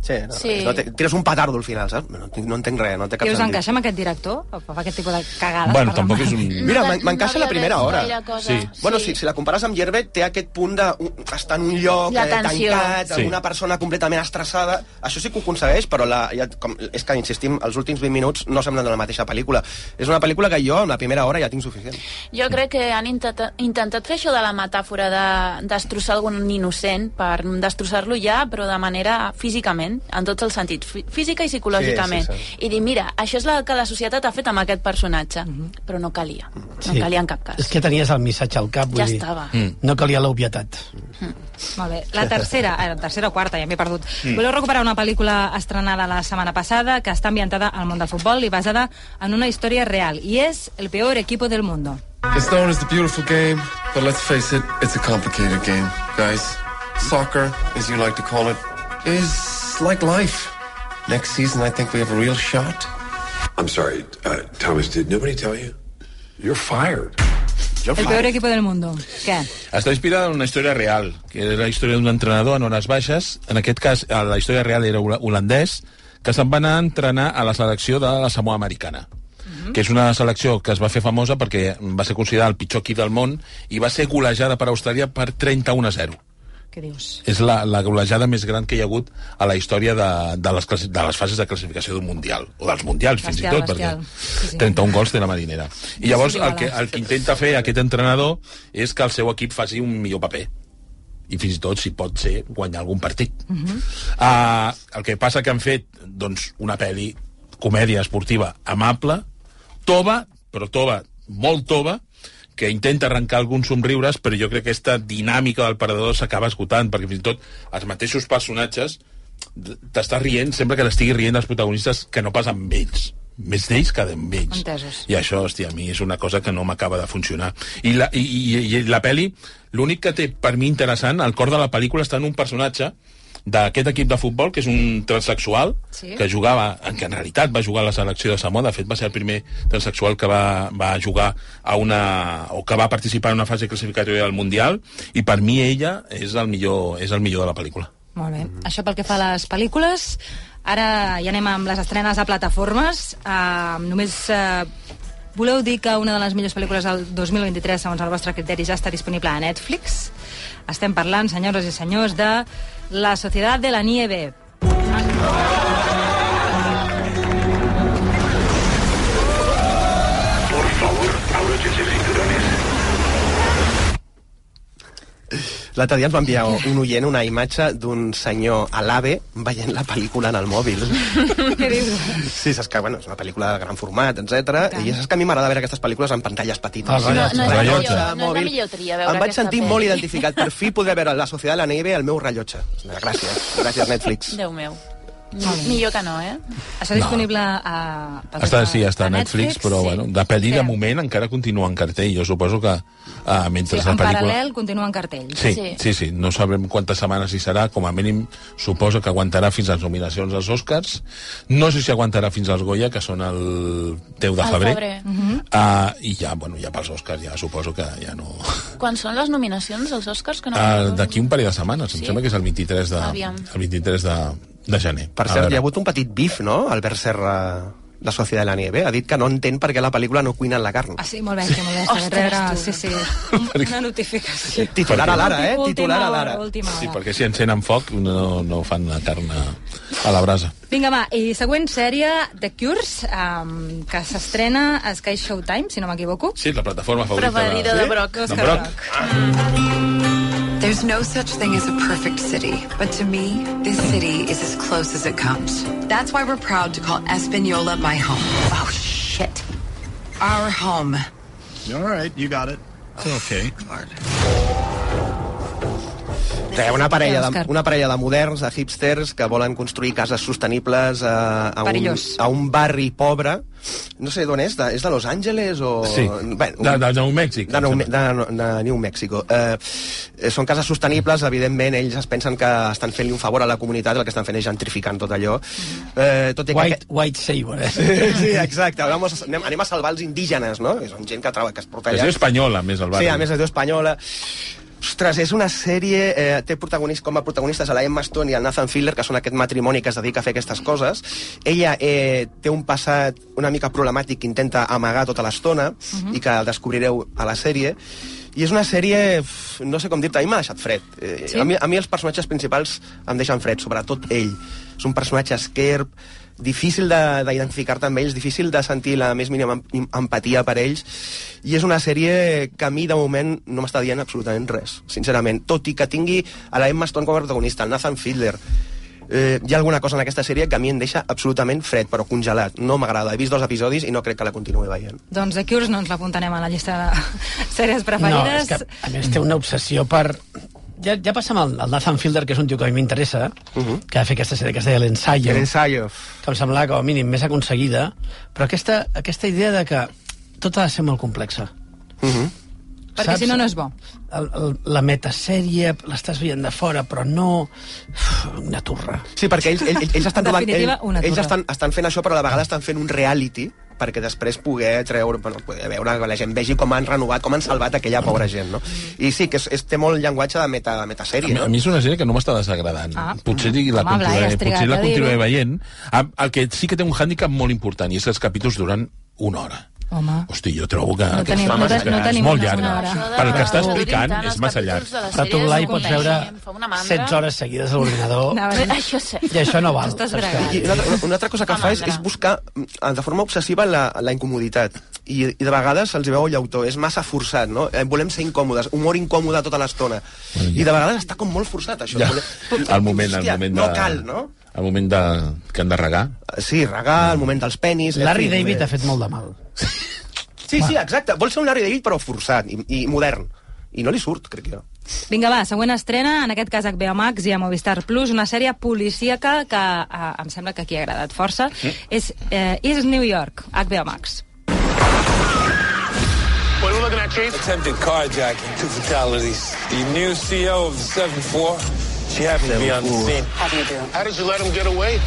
[SPEAKER 2] Sí, no,
[SPEAKER 5] Sí.
[SPEAKER 2] No te, tires un petardo al final, saps? No, tinc- no entenc res, no té cap
[SPEAKER 1] I us
[SPEAKER 2] sentit.
[SPEAKER 1] encaixa amb aquest director? O fa aquest tipus de cagades? per
[SPEAKER 7] Bueno,
[SPEAKER 1] la
[SPEAKER 7] tampoc
[SPEAKER 1] mà?
[SPEAKER 7] és un...
[SPEAKER 2] Mira,
[SPEAKER 5] No,
[SPEAKER 2] m'en- m'encaixa
[SPEAKER 5] no
[SPEAKER 2] la primera
[SPEAKER 5] veig
[SPEAKER 2] hora.
[SPEAKER 5] gaire cosa.
[SPEAKER 7] Sí.
[SPEAKER 2] Bueno, sí, si la compares amb Gerber, té aquest punt de... un- Està en un lloc
[SPEAKER 5] La
[SPEAKER 2] eh,
[SPEAKER 5] tensió.
[SPEAKER 2] tancat,
[SPEAKER 7] Sí.
[SPEAKER 2] amb una persona completament estressada. Això sí que ho aconsegueix, però la, ja, com, és que, insistim, els últims 20 minuts no semblen de la mateixa pel·lícula. És una pel·lícula que jo, en la primera hora, ja tinc suficient.
[SPEAKER 5] Jo crec que han intenta intentat fer això de la metàfora de destrossar algun innocent per destrossar-lo ja, però de manera físicament, en tots els sentits, fí- física i psicològicament.
[SPEAKER 2] Sí, sí, sí.
[SPEAKER 5] I dir, mira, això és el que la societat ha fet amb aquest personatge,
[SPEAKER 7] Mhm.
[SPEAKER 5] però no calia, no calia en cap
[SPEAKER 4] És
[SPEAKER 5] cas.
[SPEAKER 4] que tenies el missatge al cap, vull
[SPEAKER 5] Ja
[SPEAKER 4] dir.
[SPEAKER 5] estava.
[SPEAKER 7] Mm.
[SPEAKER 4] No calia l'obvietat.
[SPEAKER 1] [laughs] Molt bé. La tercera, eh, la tercera o quarta, ja m'he perdut. Mm. Voleu recuperar una pel·lícula estrenada la setmana passada que està ambientada al món del futbol i basada en una història real, i és El peor equipo del mundo.
[SPEAKER 10] It's known as the beautiful game, but let's face it, it's a complicated game, guys. Soccer, as you like to call it, is like life. Next season, I think we have a real shot.
[SPEAKER 11] I'm sorry, uh, Thomas, did nobody tell you? You're fired.
[SPEAKER 1] El peor equipo del mundo. Què?
[SPEAKER 7] Està inspirada en una història real, que era la història d'un entrenador en hores baixes. En aquest cas, eh, la història real era hola- holandès, que se'n va anar a entrenar a la selecció de la Samoa Americana
[SPEAKER 1] Mhm.
[SPEAKER 7] que és una selecció que es va fer famosa perquè va ser considerada el pitjor equip del món i va ser golejada per Austràlia per 31 a 0.
[SPEAKER 1] Què dius?
[SPEAKER 7] És la, la golejada més gran que hi ha hagut a la història de, de, les, classi- de les fases de classificació d'un mundial, o dels mundials, fins
[SPEAKER 1] Bestial,
[SPEAKER 7] i tot, perquè
[SPEAKER 1] bestial. Sí, sí.
[SPEAKER 7] 31 gols té la marinera. I llavors
[SPEAKER 1] igualat.
[SPEAKER 7] el que, el que intenta fer aquest entrenador és que el seu equip faci un millor paper i fins i tot, si pot ser, guanyar algun partit. Uh -huh. uh, el que passa que han fet doncs, una pel·li comèdia esportiva amable, tova, però tova, molt tova, que intenta arrencar alguns somriures, però jo crec que aquesta dinàmica del perdedor s'acaba esgotant, perquè fins i tot els mateixos personatges t'estàs rient sempre que t'estigui rient dels protagonistes que no pas amb ells més d'ells que d'amb ells.
[SPEAKER 1] Entesos.
[SPEAKER 7] I això, hòstia, a mi és una cosa que no m'acaba de funcionar. I la, i, i, i la peli, l'únic que té per mi interessant, al cor de la pel·lícula està en un personatge d'aquest equip de futbol, que és un transexual,
[SPEAKER 12] Sí.
[SPEAKER 7] que jugava, en que en realitat va jugar a la selecció de Samoa, de fet va ser el primer transexual que va, va jugar a una, o que va participar en una fase classificatòria del Mundial, i per mi ella és el millor, és el millor de la pel·lícula.
[SPEAKER 1] Molt bé.
[SPEAKER 7] Mm-hmm.
[SPEAKER 1] Això pel que fa a les pel·lícules. Ara ja anem amb les estrenes a plataformes. Uh, només uh, voleu dir que una de les millors pel·lícules del 2023, segons el vostre criteri, ja està disponible a Netflix. Estem parlant, senyores i senyors, de La Societat de la
[SPEAKER 7] [laughs]
[SPEAKER 1] Nieve.
[SPEAKER 2] L'altre dia ens va enviar un oient una imatge d'un senyor a l'AVE veient la pel·lícula en el mòbil.
[SPEAKER 1] Què dius?
[SPEAKER 2] Sí, saps que, bueno, és una pel·lícula de gran format, etc. I saps que a mi m'agrada veure aquestes pel·lícules en pantalles petites.
[SPEAKER 7] Ah, No, rellotge. no és la
[SPEAKER 2] Rellotge,
[SPEAKER 7] millor-
[SPEAKER 5] no és la
[SPEAKER 2] mòbil.
[SPEAKER 5] millor tria veure
[SPEAKER 2] Em vaig
[SPEAKER 5] aquesta
[SPEAKER 2] sentir
[SPEAKER 5] pel·li.
[SPEAKER 2] molt identificat. Per fi podré veure La Societat de la Neve al meu rellotge. Gràcies. Gràcies, Netflix.
[SPEAKER 5] Déu meu. Millor que no, eh?
[SPEAKER 1] Això disponible a... pel que
[SPEAKER 7] Està,
[SPEAKER 1] fa
[SPEAKER 7] sí, està
[SPEAKER 1] a
[SPEAKER 7] a Netflix, però
[SPEAKER 1] sí.
[SPEAKER 7] bueno, de pel·li de
[SPEAKER 1] Sí.
[SPEAKER 7] moment encara continua en cartell. Jo suposo que uh,
[SPEAKER 1] Sí,
[SPEAKER 7] mentre la
[SPEAKER 1] en
[SPEAKER 7] pel·lícula...
[SPEAKER 1] paral·lel continua en cartell.
[SPEAKER 7] Sí, sí, sí, sí, no sabrem quantes setmanes hi serà, com a mínim suposo que aguantarà fins a les nominacions als Oscars. No sé si aguantarà fins als Goya, que són el 10 de
[SPEAKER 5] Al
[SPEAKER 7] febrer.
[SPEAKER 5] febrer.
[SPEAKER 1] Mhm.
[SPEAKER 7] Uh, I ja, bueno, ja pels Oscars ja suposo que ja no...
[SPEAKER 5] Quan són les nominacions als Oscars? Que no
[SPEAKER 7] Uh, D'aquí un parell de setmanes, em
[SPEAKER 5] Sí?
[SPEAKER 7] sembla que és el 23 de,
[SPEAKER 5] Aviam.
[SPEAKER 7] el 23 de, de gener.
[SPEAKER 2] Per
[SPEAKER 7] A
[SPEAKER 2] cert,
[SPEAKER 7] veure.
[SPEAKER 2] hi ha hagut un petit bif, no?, Albert Serra la Societat de la Nieve. Ha dit que no entén per què la pel·lícula no cuinen la carn.
[SPEAKER 1] Ah, sí, molt bé, sí. que molt bé. Ostres,
[SPEAKER 5] Ostres,
[SPEAKER 1] rebre,
[SPEAKER 5] tu.
[SPEAKER 7] [laughs]
[SPEAKER 1] sí, sí. Una notificació.
[SPEAKER 2] Titular a l'ara, eh?
[SPEAKER 1] Última
[SPEAKER 2] Titular a l'ara.
[SPEAKER 1] hora, última
[SPEAKER 7] Sí,
[SPEAKER 1] hora.
[SPEAKER 7] perquè si encenen foc no, no fan la carn a, a la brasa.
[SPEAKER 1] Vinga, va, i següent sèrie, The Cures, um, que s'estrena a Sky Showtime, si no m'equivoco.
[SPEAKER 7] Sí, la plataforma favorita
[SPEAKER 1] Preferida de Brock.
[SPEAKER 7] De
[SPEAKER 1] Oscar
[SPEAKER 7] Brock.
[SPEAKER 13] There's no such thing as a perfect city, but to me, this city is as close as it comes. That's why we're proud to call Espanola my home. Oh, shit. Our home.
[SPEAKER 14] All right, you got it. Okay.
[SPEAKER 2] Que hi ha una parella, de,
[SPEAKER 14] Òscar.
[SPEAKER 2] una parella de moderns, de hipsters, que volen construir cases sostenibles a, a, un,
[SPEAKER 7] Perillós.
[SPEAKER 2] a un barri pobre. No sé d'on és, de, és de Los Angeles o...
[SPEAKER 7] Sí,
[SPEAKER 2] Bé,
[SPEAKER 7] de, de Nou Mèxic.
[SPEAKER 2] de Nou, de, de New Mexico. Eh, eh, són cases sostenibles, evidentment, ells es pensen que estan fent-li un favor a la comunitat, el que estan fent és gentrificant tot allò. Eh, tot i que
[SPEAKER 4] White, White Saber, eh?
[SPEAKER 2] Sí, [laughs] sí, exacte. Vamos, a- anem, anem a salvar els indígenes, no? Que Són gent que, troba, que es porta
[SPEAKER 7] Es
[SPEAKER 2] allà.
[SPEAKER 7] diu espanyola, més, el barri.
[SPEAKER 2] Sí, a més es diu Espanyola. Ostres, és una sèrie... Eh, té protagonist, com a protagonistes a la Emma Stone i el Nathan Fielder, que són aquest matrimoni que es dedica a fer aquestes coses. Ella eh, té un passat una mica problemàtic que intenta amagar tota l'estona
[SPEAKER 15] Mhm.
[SPEAKER 2] i que el descobrireu a la sèrie. I és una sèrie, f- no sé com dir-te, a mi m'ha deixat fred. Eh,
[SPEAKER 15] Sí?
[SPEAKER 2] a, mi, a mi els personatges principals em deixen fred, sobretot ell. És un personatge esquerp, difícil de- d'identificar-te amb ells, difícil de sentir la més mínima em- empatia per ells, i és una sèrie que a mi, de moment, no m'està dient absolutament res, sincerament. Tot i que tingui a la Emma Stone com a protagonista, el Nathan Fielder, eh, hi ha alguna cosa en aquesta sèrie que a mi em deixa absolutament fred, però congelat. No m'agrada. He vist dos episodis i no crec que la continuï veient.
[SPEAKER 1] Doncs The Cures no ens l'apuntarem a la llista de [laughs] sèries
[SPEAKER 4] No,
[SPEAKER 1] preferides.
[SPEAKER 4] és que, a més, té una obsessió per... Ja, ja passa amb el, el Nathan Fielder, que és un tio que a mi m'interessa, uh -huh. que va fer aquesta sèrie que es deia L'Ensayo.
[SPEAKER 2] L'Ensayo.
[SPEAKER 4] Que em semblava, com a mínim, més aconseguida. Però aquesta, aquesta idea de que tot ha de ser molt complexa. Uh -huh.
[SPEAKER 1] Perquè si no, no és bo.
[SPEAKER 4] El, el, la metasèrie l'estàs veient de fora, però no... Uf, Una torra.
[SPEAKER 2] Sí, perquè ells, ells, ells estan,
[SPEAKER 4] En
[SPEAKER 2] rodant,
[SPEAKER 4] definitiva,
[SPEAKER 2] ells,
[SPEAKER 4] una
[SPEAKER 2] ells
[SPEAKER 4] torre.
[SPEAKER 2] estan, estan fent això, però a la vegada estan fent un reality perquè després poder treure, bueno, poder veure que la gent vegi com han renovat, com han salvat aquella pobra gent, no? I sí, que és, és té molt llenguatge de meta, metasèrie,
[SPEAKER 7] A
[SPEAKER 2] no?
[SPEAKER 7] mi és una sèrie que no m'està desagradant.
[SPEAKER 2] Ah.
[SPEAKER 7] Ah. Potser digui, la
[SPEAKER 2] Home, Blai,
[SPEAKER 7] continuaré,
[SPEAKER 2] has trigat
[SPEAKER 7] potser la
[SPEAKER 2] a dir-ho.
[SPEAKER 7] continuaré veient. Am- El que sí que té un hàndicap molt important i és que els capítols duran una hora.
[SPEAKER 1] Home.
[SPEAKER 7] Hosti, jo trobo que...
[SPEAKER 1] No
[SPEAKER 7] que
[SPEAKER 1] tenim-
[SPEAKER 7] fa
[SPEAKER 1] no te-
[SPEAKER 7] massa-
[SPEAKER 1] no tenim
[SPEAKER 7] és molt
[SPEAKER 1] una
[SPEAKER 7] llarga.
[SPEAKER 1] hora. Això de-
[SPEAKER 7] Per el que està
[SPEAKER 1] Però
[SPEAKER 7] explicant
[SPEAKER 1] tant,
[SPEAKER 7] és massa llarg.
[SPEAKER 4] Però tu, Blai, pots veure 16 hores seguides a l'ordinador.
[SPEAKER 5] Això sé.
[SPEAKER 4] I això no val.
[SPEAKER 5] Estàs
[SPEAKER 4] saps
[SPEAKER 5] brega.
[SPEAKER 4] que-
[SPEAKER 2] I una, altra- una altra cosa que fa és, és buscar mm, de forma obsessiva la, la incomoditat. I, I de vegades se'ls veu llautó, és massa forçat, no? Eh, volem ser incòmodes, humor incòmode tota l'estona. I de vegades està com molt forçat, això.
[SPEAKER 7] Ja.
[SPEAKER 2] Volem-
[SPEAKER 7] El moment, el
[SPEAKER 2] Hòstia,
[SPEAKER 7] moment de...
[SPEAKER 2] No cal, no?
[SPEAKER 7] El moment de... que han de regar.
[SPEAKER 2] Sí, regar, el moment dels penis...
[SPEAKER 4] Larry
[SPEAKER 2] en fi,
[SPEAKER 4] David
[SPEAKER 2] eh,
[SPEAKER 4] ha fet molt de mal.
[SPEAKER 2] Sí, sí, exacte. Vol ser un Larry David, però forçat i, i modern. I no li surt, crec jo.
[SPEAKER 1] Vinga, va, següent estrena, en aquest cas HBO Max i a Movistar Plus, una sèrie policíaca que eh, em sembla que aquí ha agradat força.
[SPEAKER 12] Mm.
[SPEAKER 1] És eh, Is New York, HBO Max.
[SPEAKER 15] What are we looking at, Chief? Attempted carjacking, two fatalities. The new CEO of the 7-4, she happened to be on the scene.
[SPEAKER 6] How do you do?
[SPEAKER 15] How did you let him get away?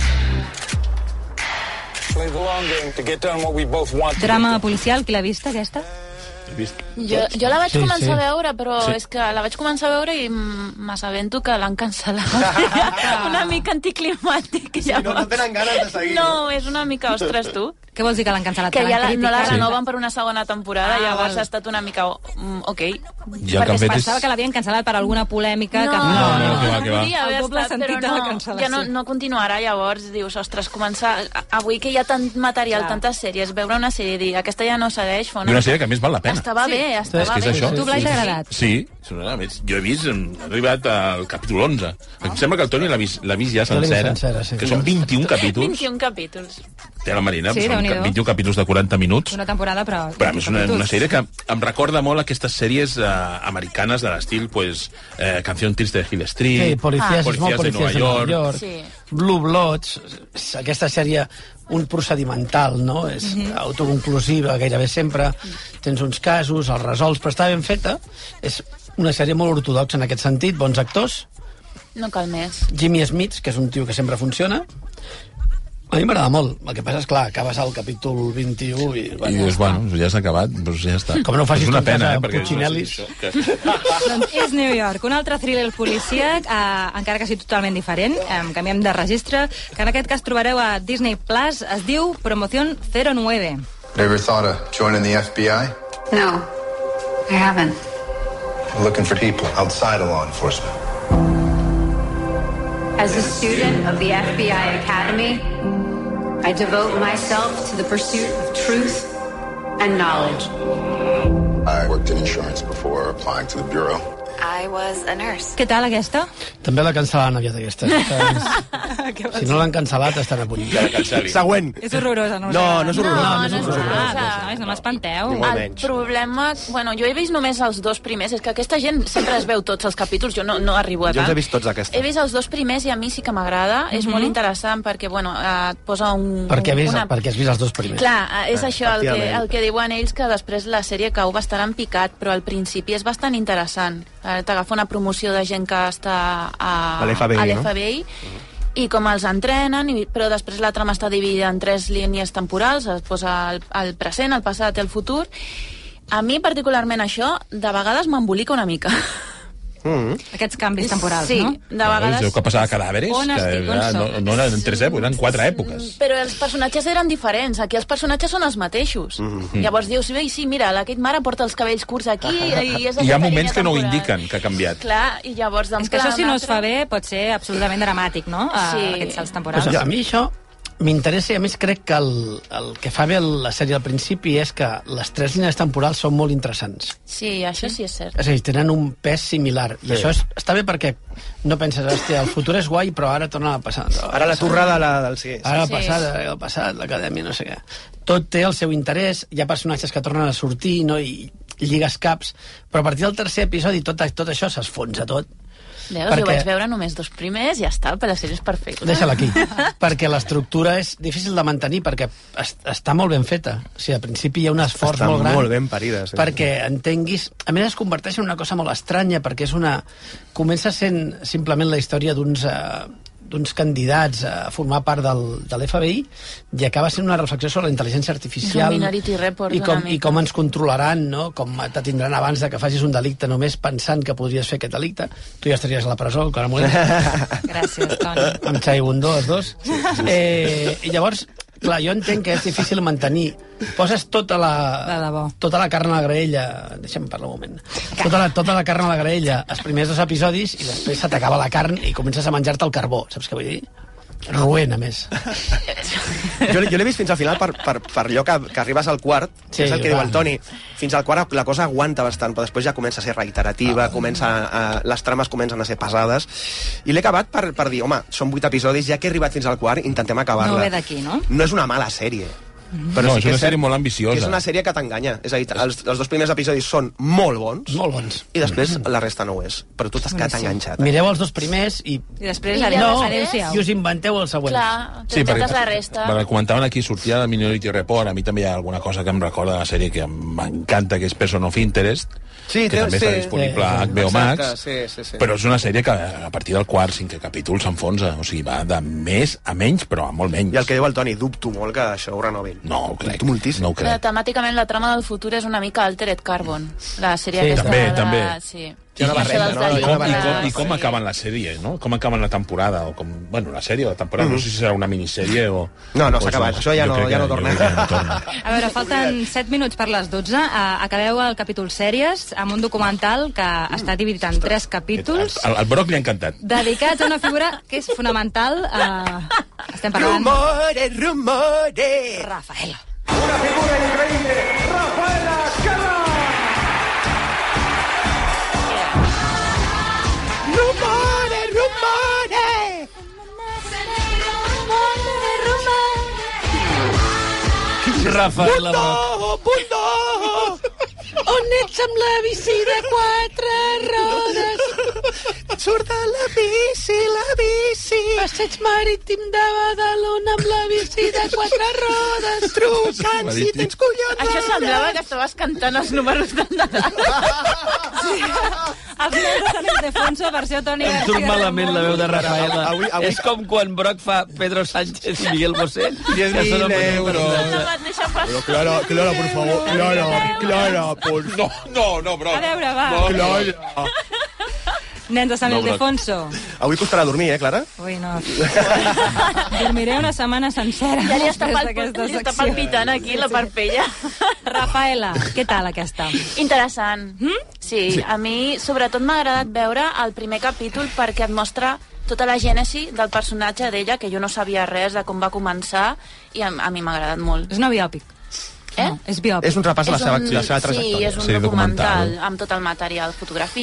[SPEAKER 15] Play the long game to get done what we both want. to
[SPEAKER 1] Drama policial, qui l'ha vista, aquesta?
[SPEAKER 5] Jo, jo la vaig
[SPEAKER 1] Sí,
[SPEAKER 5] començar
[SPEAKER 1] sí.
[SPEAKER 5] a veure, però
[SPEAKER 1] Sí.
[SPEAKER 5] sí. és que la vaig començar a veure i mm, m'assabento que l'han
[SPEAKER 1] [laughs]
[SPEAKER 5] cancel·lat. una mica anticlimàtic. Sí,
[SPEAKER 1] no- no tenen ganes de seguir,
[SPEAKER 5] No, és una mica, ostres, tu.
[SPEAKER 1] Què vols dir que l'han cancel·lat?
[SPEAKER 5] Que ja la, no la
[SPEAKER 1] criticat?
[SPEAKER 5] renoven per una segona temporada,
[SPEAKER 1] Ah,
[SPEAKER 5] ah, llavors
[SPEAKER 1] val.
[SPEAKER 5] ha estat una mica... mm, Ok.
[SPEAKER 7] Ja que
[SPEAKER 1] Perquè
[SPEAKER 7] han
[SPEAKER 1] es
[SPEAKER 7] fet
[SPEAKER 1] pensava
[SPEAKER 7] és-
[SPEAKER 1] que l'havien cancel·lat per alguna polèmica.
[SPEAKER 5] No,
[SPEAKER 1] que...
[SPEAKER 7] No, no, que va, que va.
[SPEAKER 5] Podria haver
[SPEAKER 1] El doble
[SPEAKER 5] estat,
[SPEAKER 1] sentit
[SPEAKER 5] però
[SPEAKER 1] de la
[SPEAKER 5] no,
[SPEAKER 1] cancel·lació.
[SPEAKER 5] ja no, no continuarà, llavors dius, ostres, començar... a- Avui que hi ha tant material,
[SPEAKER 1] Clar.
[SPEAKER 5] tantes sèries, veure una sèrie i dir, aquesta ja no segueix, fa
[SPEAKER 7] I
[SPEAKER 5] una...
[SPEAKER 7] una sèrie que a més val la pena.
[SPEAKER 5] Estava bé, estava
[SPEAKER 7] És que és
[SPEAKER 5] bé.
[SPEAKER 7] això.
[SPEAKER 5] Tu, Blai, t'ha agradat?
[SPEAKER 7] Sí, sí. A més, jo he vist, em, he arribat al capítol 11. Em sembla que el Toni l'ha vist, l'ha vist ja
[SPEAKER 4] Jo l'he vist
[SPEAKER 7] sencera,
[SPEAKER 4] sencera, sí.
[SPEAKER 7] que són 21 capítols.
[SPEAKER 5] 21 capítols.
[SPEAKER 7] Té la Marina,
[SPEAKER 1] Sí,
[SPEAKER 7] són
[SPEAKER 1] Déu-n'hi-do.
[SPEAKER 7] 21 capítols de 40 minuts.
[SPEAKER 1] Una temporada, però...
[SPEAKER 7] Però a mi és una,
[SPEAKER 1] capítols.
[SPEAKER 7] una sèrie que em recorda molt aquestes sèries eh, americanes de l'estil pues, eh, Canción Triste de Hill Street,
[SPEAKER 5] Ah.
[SPEAKER 4] Sí, Policías, és molt
[SPEAKER 7] de
[SPEAKER 4] Policías
[SPEAKER 7] Nova
[SPEAKER 4] de Nova
[SPEAKER 7] York...
[SPEAKER 4] York. Blue Bloods, és aquesta sèrie un procedimental, no? És mm
[SPEAKER 7] Mhm.
[SPEAKER 4] -hmm. autoconclusiva gairebé sempre. Tens uns casos, els resols, però està ben feta. És una sèrie molt ortodoxa en aquest sentit, bons actors.
[SPEAKER 5] No cal més.
[SPEAKER 4] Jimmy Smith, que és un tio que sempre funciona. A mi m'agrada molt. El que passa és, clar, acabes al capítol 21 i...
[SPEAKER 7] I dius, bueno, ja s'ha acabat, doncs ja està.
[SPEAKER 4] Com no ho facis
[SPEAKER 7] és una
[SPEAKER 4] tu en
[SPEAKER 7] pena,
[SPEAKER 4] casa,
[SPEAKER 7] eh, perquè...
[SPEAKER 4] Puccinellis.
[SPEAKER 1] doncs és New York, un altre thriller policíac, eh, encara que sigui totalment diferent, eh, canviem de registre, que en aquest cas trobareu a Disney Plus, es diu Promoción 09.
[SPEAKER 16] Ever thought of joining the FBI?
[SPEAKER 13] No, I haven't.
[SPEAKER 16] Looking for people outside of law enforcement.
[SPEAKER 13] As a student of the FBI Academy, I devote myself to the pursuit of truth and knowledge.
[SPEAKER 11] I worked in insurance before applying to the Bureau.
[SPEAKER 13] I was a nurse.
[SPEAKER 1] Què tal, [laughs] aquesta?
[SPEAKER 4] També la cancel·laran aviat, aquesta. si no l'han cancel·lat, estan a punt.
[SPEAKER 2] Següent.
[SPEAKER 1] És horrorosa, no us
[SPEAKER 4] No,
[SPEAKER 1] agrada?
[SPEAKER 4] no és horrorosa.
[SPEAKER 1] No,
[SPEAKER 4] No,
[SPEAKER 1] no és horrorosa. Nois, no m'espanteu.
[SPEAKER 5] El problema... Bueno, jo he vist només els dos primers. És que aquesta gent sempre es veu tots els capítols. Jo no, no arribo a
[SPEAKER 2] Jo
[SPEAKER 5] tant.
[SPEAKER 2] els he vist tots, aquesta.
[SPEAKER 5] He vist els dos primers i a mi sí que m'agrada. És molt interessant perquè, bueno, eh, et posa un...
[SPEAKER 4] Perquè, has vist,
[SPEAKER 5] una...
[SPEAKER 4] perquè has vist els dos primers.
[SPEAKER 5] Clar, eh, és
[SPEAKER 4] Eh,
[SPEAKER 5] això el que,
[SPEAKER 4] efectivament.
[SPEAKER 5] el que diuen ells, que després la sèrie cau bastant en picat, però al principi és bastant interessant. Eh, T'agafa una promoció de gent que està a,
[SPEAKER 2] A l'FBI,
[SPEAKER 5] a
[SPEAKER 2] no?
[SPEAKER 5] l'FBI i com els entrenen, i, però després la trama està dividida en tres línies temporals, es posa el, el present, el passat i el futur. A mi particularment això, de vegades m'embolica una mica.
[SPEAKER 7] Mm.
[SPEAKER 1] Aquests canvis temporals,
[SPEAKER 5] sí,
[SPEAKER 1] no?
[SPEAKER 5] Sí, de vegades...
[SPEAKER 7] Vegades... que passava cadàveres,
[SPEAKER 5] On
[SPEAKER 7] que
[SPEAKER 5] estic, on
[SPEAKER 7] era, no,
[SPEAKER 5] sóc?
[SPEAKER 7] no eren tres èpoques, eren quatre èpoques.
[SPEAKER 5] Però els personatges eren diferents. Aquí els personatges són els mateixos. Mm
[SPEAKER 7] Mhm.
[SPEAKER 5] -hmm. Llavors dius, bé, sí, mira, la Kate Mara porta els cabells curts aquí i és
[SPEAKER 7] Hi ha
[SPEAKER 5] aquesta
[SPEAKER 7] moments
[SPEAKER 5] línia
[SPEAKER 7] que no ho
[SPEAKER 5] temporal.
[SPEAKER 7] indiquen, que ha canviat.
[SPEAKER 5] Clar, i llavors...
[SPEAKER 1] És que això, si no es fa bé, pot ser absolutament dramàtic, no? Sí. Aquests salts temporals.
[SPEAKER 4] Pues a mi això m'interessa i a més crec que el, el que fa bé la sèrie al principi és que les tres línies temporals són molt interessants.
[SPEAKER 5] Sí, això sí és cert.
[SPEAKER 4] És a dir, tenen un pes similar.
[SPEAKER 2] Sí.
[SPEAKER 4] I això és, està bé perquè no penses, hòstia, el futur és guai, però ara torna a passar.
[SPEAKER 2] Ara la torrada la, del... Sí, sí.
[SPEAKER 7] Ah.
[SPEAKER 4] Ara la passada, ara la passada, l'acadèmia, no sé què. Tot té el seu interès, hi ha personatges que tornen a sortir, no? I lligues caps, però a partir del tercer episodi tot, tot això s'esfonsa tot.
[SPEAKER 5] Veus,
[SPEAKER 4] Perquè-
[SPEAKER 5] jo vaig veure només dos primers, ja està, per la sèrie és perfecta.
[SPEAKER 4] Deixa-la aquí. perquè l'estructura és difícil de mantenir perquè es, està molt ben feta. O sigui, al principi hi ha un esforç
[SPEAKER 2] Estan
[SPEAKER 4] molt gran.
[SPEAKER 2] molt ben parides. Sí.
[SPEAKER 4] Perquè entenguis... A més, es converteix en una cosa molt estranya, perquè és una... Comença sent simplement la història d'uns... Eh, d'uns candidats a formar part del, de l'FBI i acaba sent una reflexió sobre la intel·ligència
[SPEAKER 5] És un
[SPEAKER 4] artificial
[SPEAKER 5] Minority Report
[SPEAKER 4] i com,
[SPEAKER 5] una
[SPEAKER 4] i
[SPEAKER 5] mica.
[SPEAKER 4] com ens controlaran, no? com te tindran abans de que facis un delicte només pensant que podries fer aquest delicte. Tu ja estaries a la presó,
[SPEAKER 2] [laughs]
[SPEAKER 4] encara molt.
[SPEAKER 1] Gràcies, Toni.
[SPEAKER 4] Amb Xai Bundó, els dos. Eh, I llavors, clar, jo entenc que és difícil mantenir. Poses tota la, tota la carn a la graella... Deixa'm parlar un moment. Tota la, tota la carn a la graella, els primers dos episodis, i després se t'acaba la carn i comences a menjar-te el carbó, saps què vull dir? Ruent, a més.
[SPEAKER 2] Jo, jo l'he vist fins al final per, per, per allò que, que arribes al quart,
[SPEAKER 4] Sí,
[SPEAKER 2] sí, és el que
[SPEAKER 4] va.
[SPEAKER 2] diu el Toni. Fins al quart la cosa aguanta bastant, però després ja comença a ser reiterativa, ah. comença a, les trames comencen a ser pesades. I l'he acabat per, per dir, home, són vuit episodis, ja que he arribat fins al quart, intentem
[SPEAKER 1] No
[SPEAKER 2] acabar-la.
[SPEAKER 1] ve d'aquí, no?
[SPEAKER 2] No és una mala sèrie.
[SPEAKER 7] No, és
[SPEAKER 2] que
[SPEAKER 7] una
[SPEAKER 2] cert
[SPEAKER 7] sèrie molt ambiciosa.
[SPEAKER 2] que És una sèrie que t'enganya. És a dir, els, els dos primers episodis són molt bons.
[SPEAKER 4] Molt bons.
[SPEAKER 2] I després la resta no ho és. Però tu t'has quedat enganxat. eh?
[SPEAKER 4] Mireu els dos primers i...
[SPEAKER 1] I després,
[SPEAKER 5] I
[SPEAKER 1] adéu,
[SPEAKER 5] llavors-
[SPEAKER 1] adéu-siau.
[SPEAKER 4] I us inventeu el següent.
[SPEAKER 5] Clar, sí, perquè... la resta.
[SPEAKER 7] Perquè comentaven aquí, sortia de Minority Report, a mi també hi ha alguna cosa que em recorda de la sèrie que m'encanta, que és Person of Interest,
[SPEAKER 2] Sí,
[SPEAKER 7] que
[SPEAKER 2] té-
[SPEAKER 7] també
[SPEAKER 2] sí.
[SPEAKER 7] està disponible a HBO
[SPEAKER 2] Exacte,
[SPEAKER 7] Max,
[SPEAKER 2] sí, sí, sí.
[SPEAKER 7] però és una sèrie que a partir del quart, cinquè capítol s'enfonsa, o sigui, va de més a menys, però a molt menys. I el
[SPEAKER 2] que diu el Toni, dubto molt que això ho renovin.
[SPEAKER 7] No, ho crec. Moltíssim. No ho
[SPEAKER 5] Però
[SPEAKER 7] crec.
[SPEAKER 5] temàticament la trama del futur és una mica Altered Carbon, la sèrie
[SPEAKER 7] Sí,
[SPEAKER 5] aquesta.
[SPEAKER 7] també,
[SPEAKER 5] de...
[SPEAKER 7] també.
[SPEAKER 5] Sí.
[SPEAKER 7] I,
[SPEAKER 5] Això
[SPEAKER 7] barreja,
[SPEAKER 5] dels
[SPEAKER 7] no? I, com, i,
[SPEAKER 5] delictes.
[SPEAKER 7] com, I com acaben les sèries, no? Com acaben la temporada, o com... Bueno, la sèrie o la temporada, no sé si serà una minissèrie o...
[SPEAKER 2] Mm. No, no,
[SPEAKER 7] o
[SPEAKER 2] s'ha
[SPEAKER 7] és
[SPEAKER 2] acabat.
[SPEAKER 7] una-
[SPEAKER 2] Això ja
[SPEAKER 7] jo
[SPEAKER 2] no- ja
[SPEAKER 7] crec que-
[SPEAKER 2] no
[SPEAKER 7] jo
[SPEAKER 2] torna.
[SPEAKER 7] crec que no torna.
[SPEAKER 2] [laughs]
[SPEAKER 1] A veure, falten 7 minuts per les 12. Uh, acabeu el capítol sèries amb un documental que està dividit en 3 capítols
[SPEAKER 7] Al, al Broc li ha encantat.
[SPEAKER 1] dedicats a una figura que és fonamental. Uh, estem parlant...
[SPEAKER 2] Rumores, rumores!
[SPEAKER 1] Rafael.
[SPEAKER 6] Rumores, rumores.
[SPEAKER 4] Rafael
[SPEAKER 6] Bulldog, oh, bulldog. On ets amb la bici de quatre rodes? Surt de la bici, la bici. Passeig marítim de Badalona amb la bici de quatre rodes. Trucant si tens collons.
[SPEAKER 5] Això semblava que estaves cantant els números del Nadal.
[SPEAKER 1] Els meus són Ildefonso, versió Toni
[SPEAKER 4] Em surt
[SPEAKER 1] Garcia.
[SPEAKER 4] malament la veu de Rafaela.
[SPEAKER 2] Avui-
[SPEAKER 4] Avui,
[SPEAKER 2] avui-
[SPEAKER 4] avui... És com quan Broc fa Pedro Sánchez i Miguel Bosé.
[SPEAKER 2] 10.000 euros.
[SPEAKER 5] Però
[SPEAKER 2] Clara, Clara, por favor, Clara, Clara, por
[SPEAKER 7] No, no, no, bro.
[SPEAKER 1] A veure, va.
[SPEAKER 2] No, Clara.
[SPEAKER 1] Nens de Sant
[SPEAKER 2] No,
[SPEAKER 1] Ildefonso.
[SPEAKER 2] Avui costarà dormir, eh, Clara?
[SPEAKER 1] Ui,
[SPEAKER 4] [laughs]
[SPEAKER 1] no. Dormiré una setmana sencera.
[SPEAKER 5] Ja li està,
[SPEAKER 1] després
[SPEAKER 5] pal,
[SPEAKER 1] d'aquesta
[SPEAKER 5] li està
[SPEAKER 1] secció.
[SPEAKER 5] palpitant aquí la parpella.
[SPEAKER 1] Rafaela, què tal aquesta?
[SPEAKER 5] Interessant. Sí, sí, a mi sobretot m'ha agradat veure el primer capítol perquè et mostra tota la gènesi del personatge d'ella, que jo no sabia res de com va començar, i a, a mi m'ha agradat molt.
[SPEAKER 1] És una biòpic.
[SPEAKER 5] Eh?
[SPEAKER 1] No, és biòpic.
[SPEAKER 2] És un repàs a la seva- la seva
[SPEAKER 5] Sí,
[SPEAKER 2] trajectòria.
[SPEAKER 5] és un
[SPEAKER 2] Sí,
[SPEAKER 5] sí, documental,
[SPEAKER 2] documental.
[SPEAKER 5] amb tot el material,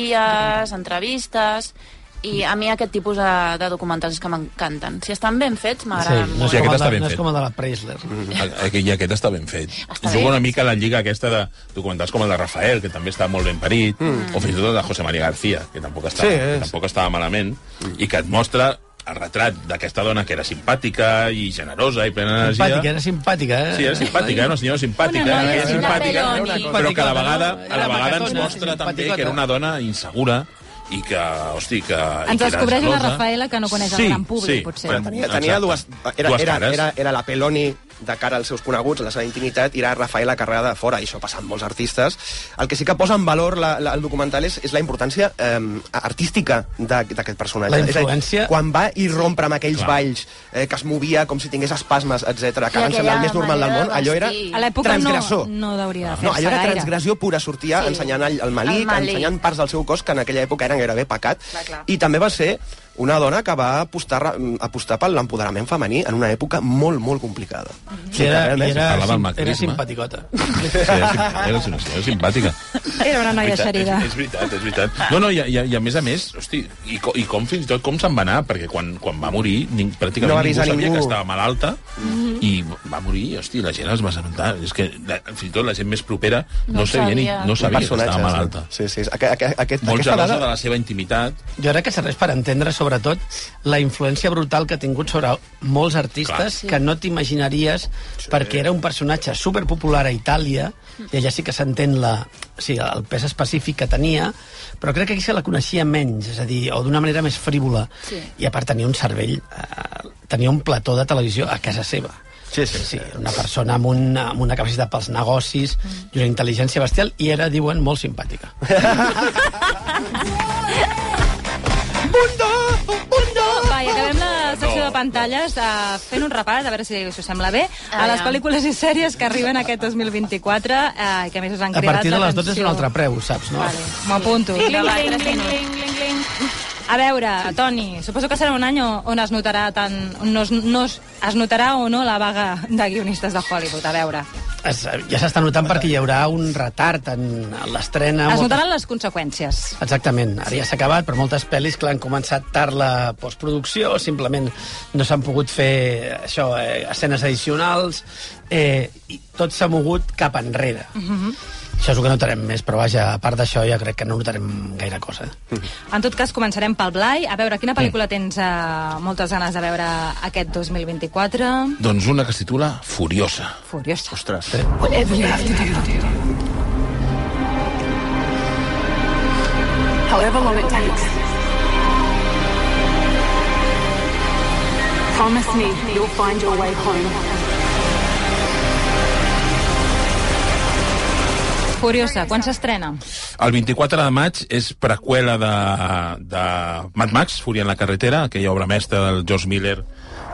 [SPEAKER 5] fotografies, entrevistes... I a mi aquest tipus de, de documentals que m'encanten. Si estan ben fets, m'agraden sí,
[SPEAKER 7] Sí, no
[SPEAKER 5] molt.
[SPEAKER 7] sé. Sí, aquest
[SPEAKER 4] com el
[SPEAKER 7] està
[SPEAKER 4] de-
[SPEAKER 7] ben
[SPEAKER 4] no
[SPEAKER 7] fet.
[SPEAKER 4] és com el de la Preisler.
[SPEAKER 7] Aquest, I aquest està ben fet.
[SPEAKER 5] Està
[SPEAKER 7] Juga
[SPEAKER 5] bé.
[SPEAKER 7] una mica la lliga aquesta de documentals com el de Rafael, que també està molt ben parit, mm. o fins i tot el de José María García, que tampoc estava,
[SPEAKER 2] Sí,
[SPEAKER 7] sí,
[SPEAKER 2] és.
[SPEAKER 7] que tampoc estava malament, i que et mostra el retrat d'aquesta dona que era simpàtica i generosa i plena d'energia.
[SPEAKER 4] Simpàtica, era simpàtica, eh?
[SPEAKER 7] Sí, era simpàtica, era una senyora simpàtica,
[SPEAKER 4] Una noia
[SPEAKER 7] que era simpàtica,
[SPEAKER 4] simpàtica,
[SPEAKER 7] simpàtica, però que a la vegada, a la
[SPEAKER 4] Era
[SPEAKER 7] vegada ens
[SPEAKER 4] macacona,
[SPEAKER 7] mostra també
[SPEAKER 4] simpaticota.
[SPEAKER 7] que era una dona insegura i que, hosti, que... i
[SPEAKER 1] Ens
[SPEAKER 7] que era
[SPEAKER 1] descobreix una
[SPEAKER 7] gelosa.
[SPEAKER 1] Rafaela que no coneix el
[SPEAKER 7] sí,
[SPEAKER 1] gran públic,
[SPEAKER 7] sí,
[SPEAKER 1] potser.
[SPEAKER 7] Però
[SPEAKER 2] Tenia, tenia dues... Era,
[SPEAKER 7] dues
[SPEAKER 2] era,
[SPEAKER 7] cares.
[SPEAKER 2] era, era la Peloni de cara als seus coneguts, a la seva intimitat, i era Rafaela Carrera de fora, i això passa amb molts artistes. El que sí que posa en valor la, la, el documental és, és la importància eh, artística de- d'aquest personatge.
[SPEAKER 4] La
[SPEAKER 2] És a dir,
[SPEAKER 4] influència.
[SPEAKER 2] quan va i rompre amb aquells
[SPEAKER 4] Clar.
[SPEAKER 2] balls, eh, que es movia com si tingués espasmes, etc que ara em sembla el més normal del món, allò era
[SPEAKER 1] A l'època no,
[SPEAKER 2] transgressor.
[SPEAKER 1] no hauria de fer-se
[SPEAKER 2] No, allò era
[SPEAKER 1] gaire.
[SPEAKER 2] transgressió pura, sortia
[SPEAKER 1] Sí.
[SPEAKER 2] sí. ensenyant el, el malic,
[SPEAKER 1] El
[SPEAKER 2] el
[SPEAKER 1] melic.
[SPEAKER 2] malic, ensenyant parts del seu cos que en aquella època eren gairebé pecat.
[SPEAKER 1] Clar, clar.
[SPEAKER 2] I també va ser una dona que va apostar, mm, apostar per l'empoderament femení en una època molt, molt complicada.
[SPEAKER 1] Mhm.
[SPEAKER 4] Sí, era,
[SPEAKER 2] Realment,
[SPEAKER 4] era,
[SPEAKER 2] eh?
[SPEAKER 4] sim-
[SPEAKER 7] Parlava el
[SPEAKER 4] era
[SPEAKER 7] macrisme.
[SPEAKER 4] simpaticota.
[SPEAKER 7] Sí, era, sim- era una senyora simpàtica.
[SPEAKER 1] Era una noia
[SPEAKER 7] És veritat,
[SPEAKER 1] xerida.
[SPEAKER 7] És, és veritat, és veritat. No, no, i, a- i, a- i a més a més, hosti, i, co, i com fins i tot com se'n va anar, perquè quan, quan va morir ning, pràcticament
[SPEAKER 2] No va
[SPEAKER 7] ningú
[SPEAKER 2] avisar
[SPEAKER 7] sabia
[SPEAKER 2] ningú.
[SPEAKER 7] que estava malalta
[SPEAKER 2] Mhm.
[SPEAKER 7] i va morir, hosti, la gent es va assabentar. És que la, fins i tot la gent més propera no,
[SPEAKER 2] No
[SPEAKER 7] sabia, ni,
[SPEAKER 2] sabia.
[SPEAKER 7] no sabia que
[SPEAKER 2] Personatges,
[SPEAKER 7] estava
[SPEAKER 2] no?
[SPEAKER 7] malalta.
[SPEAKER 2] Sí, sí, aquest, aquest, aquest,
[SPEAKER 7] Molt
[SPEAKER 2] aquesta
[SPEAKER 7] gelosa
[SPEAKER 2] dada...
[SPEAKER 7] de la seva intimitat.
[SPEAKER 4] Jo crec que serveix per entendre, sobretot, la influència brutal que ha tingut sobre molts artistes
[SPEAKER 7] sí.
[SPEAKER 4] que no t'imaginaries perquè era un personatge superpopular a Itàlia i allà sí que s'entén la, o sigui, el pes específic que tenia, però crec que aquí se la coneixia menys, és a dir, o d'una manera més frívola.
[SPEAKER 5] Sí.
[SPEAKER 4] I a part tenia un cervell, eh, tenia un plató de televisió a casa seva.
[SPEAKER 2] Sí, sí,
[SPEAKER 4] sí. Una persona amb una, amb una capacitat pels negocis i una intel·ligència bestial i era, diuen, molt simpàtica.
[SPEAKER 1] Va, i acabem la secció de pantalles uh, fent un repàs, a veure si, si us sembla bé, a les pel·lícules i sèries que arriben aquest 2024 uh, i que a més us han
[SPEAKER 4] A
[SPEAKER 1] cridat
[SPEAKER 4] partir de les 12 és un
[SPEAKER 1] l'atenció.
[SPEAKER 4] altre preu, saps, no? Vale.
[SPEAKER 1] M'apunto.
[SPEAKER 5] Sí,
[SPEAKER 1] Cling,
[SPEAKER 5] va,
[SPEAKER 1] cling,
[SPEAKER 5] tres
[SPEAKER 1] cling,
[SPEAKER 5] minuts.
[SPEAKER 1] cling, cling. A veure, Toni, suposo que serà un any o- on es notarà tant... No es, no es, es notarà o no la vaga de guionistes de Hollywood, a veure.
[SPEAKER 4] es, ja s'està notant perquè hi haurà un retard en, en l'estrena.
[SPEAKER 1] Es
[SPEAKER 4] moltes-
[SPEAKER 1] notaran les conseqüències.
[SPEAKER 4] Exactament, ara ja s'ha acabat, però moltes pel·lis clar, han començat tard la postproducció, simplement no s'han pogut fer això, eh, escenes addicionals, eh, i tot s'ha mogut cap enrere.
[SPEAKER 1] Mhm.
[SPEAKER 4] Això és el que notarem més, però vaja, a part d'això ja crec que no notarem gaire cosa.
[SPEAKER 1] En tot cas, començarem pel Blai. A veure, quina pel·lícula tens eh, moltes ganes de veure aquest 2024?
[SPEAKER 7] Doncs una que es titula Furiosa.
[SPEAKER 1] Furiosa.
[SPEAKER 7] Ostres.
[SPEAKER 1] Whatever you have to do.
[SPEAKER 12] However long it takes. Promise me you'll find your way home.
[SPEAKER 1] Furiosa, quan s'estrena?
[SPEAKER 7] El 24 de maig és preqüela de, de Mad Max, Fúria en la carretera, aquella obra mestra del George Miller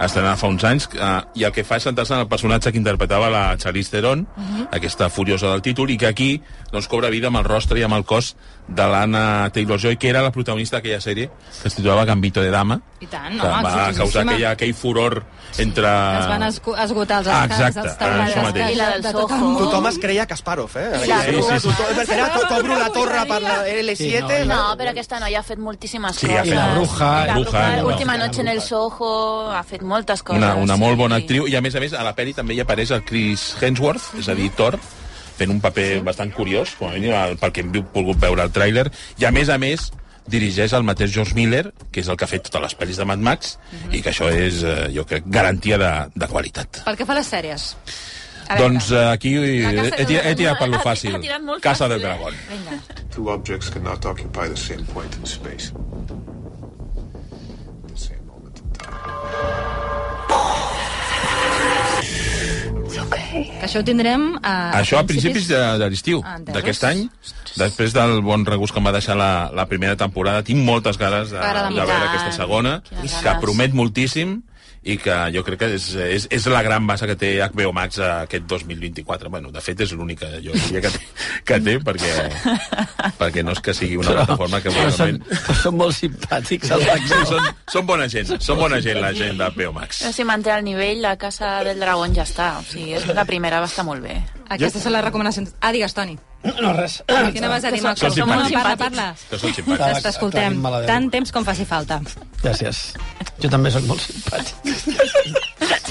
[SPEAKER 7] estrenada fa uns anys, eh, i el que fa és centrar-se en el personatge que interpretava la Charlize Theron,
[SPEAKER 17] Mhm.
[SPEAKER 7] aquesta furiosa del títol, i que aquí doncs, cobra vida amb el rostre i amb el cos de l'Anna Taylor-Joy, que era la protagonista d'aquella sèrie que es titulava Gambito de Dama,
[SPEAKER 1] I tant,
[SPEAKER 7] que
[SPEAKER 1] no,
[SPEAKER 7] va causar aquella, aquell furor entre...
[SPEAKER 1] Es van esgo- esgotar els
[SPEAKER 7] Ah,
[SPEAKER 1] escans,
[SPEAKER 7] exacte,
[SPEAKER 1] els
[SPEAKER 7] ara això
[SPEAKER 1] taulers,
[SPEAKER 7] mateix.
[SPEAKER 1] de- de- de tot el món.
[SPEAKER 2] Tothom es creia Kasparov, eh?
[SPEAKER 7] Sí, sí, sí, sí.
[SPEAKER 2] Tothom, era tot obro la torre per la
[SPEAKER 5] Sí,
[SPEAKER 2] L7.
[SPEAKER 5] no, no, però aquesta noia ha fet moltíssimes
[SPEAKER 7] Sí, ha
[SPEAKER 5] coses.
[SPEAKER 7] fet la bruja,
[SPEAKER 5] la
[SPEAKER 7] la bruja,
[SPEAKER 5] bruja,
[SPEAKER 7] no?
[SPEAKER 5] última noche en el Soho, ha fet moltes coses.
[SPEAKER 7] Una, una molt bona actriu, i a més a més a la pel·li també hi apareix el Chris Hemsworth, és a dir, Thor, fent un paper bastant curiós, com a mínim el- pel que hem vi- volgut veure el tràiler, i a més a més dirigeix el mateix George Miller, que és el que ha fet totes les pel·lis de Mad Max,
[SPEAKER 1] Mhm.
[SPEAKER 7] i que això és, eh, jo crec, garantia de, de qualitat.
[SPEAKER 1] Pel que fa a les sèries. A veure.
[SPEAKER 7] Doncs eh, aquí he,
[SPEAKER 1] La Casa
[SPEAKER 7] he,
[SPEAKER 1] del
[SPEAKER 7] tirat- he tirat per lo
[SPEAKER 1] Dragón. [laughs]
[SPEAKER 7] fàcil.
[SPEAKER 1] Ha tirat molt
[SPEAKER 7] Casa
[SPEAKER 1] fàcil,
[SPEAKER 7] del
[SPEAKER 1] eh?
[SPEAKER 7] Dragón.
[SPEAKER 1] Vinga.
[SPEAKER 11] Two objects cannot occupy the same point in space.
[SPEAKER 1] Que això ho tindrem eh, a,
[SPEAKER 7] Això a principis de, de l'estiu
[SPEAKER 1] Ah, entesos.
[SPEAKER 7] d'aquest any, després del bon regust que em va deixar la, la primera temporada, tinc moltes ganes de,
[SPEAKER 1] M'agrada
[SPEAKER 7] de
[SPEAKER 1] molt.
[SPEAKER 7] veure aquesta segona, que promet moltíssim i que jo crec que és, és, és la gran base que té HBO Max aquest 2024. Bueno, de fet, és l'única jo diria que té, que té perquè, perquè no és que sigui una
[SPEAKER 4] Però-
[SPEAKER 7] plataforma que...
[SPEAKER 4] però
[SPEAKER 7] Són,
[SPEAKER 4] són [laughs] molt simpàtics.
[SPEAKER 7] [laughs] són, són, són bona gent, són bona gent la gent d'HBO Max.
[SPEAKER 5] No, si manté el nivell, la Casa del Dragón ja està. O sigui, és- la primera va estar molt bé.
[SPEAKER 1] Aquestes són les recomanacions. Ah, digues, Toni.
[SPEAKER 4] No, res.
[SPEAKER 1] Quina vas a dir, Marc?
[SPEAKER 4] Són
[SPEAKER 1] No, no,
[SPEAKER 4] simpàtics.
[SPEAKER 1] parla, parla.
[SPEAKER 7] Que són
[SPEAKER 4] simpàtics.
[SPEAKER 1] T'escoltem
[SPEAKER 4] Tenim mala veu.
[SPEAKER 1] tant temps com faci falta.
[SPEAKER 4] Gràcies. Jo també sóc molt simpàtic.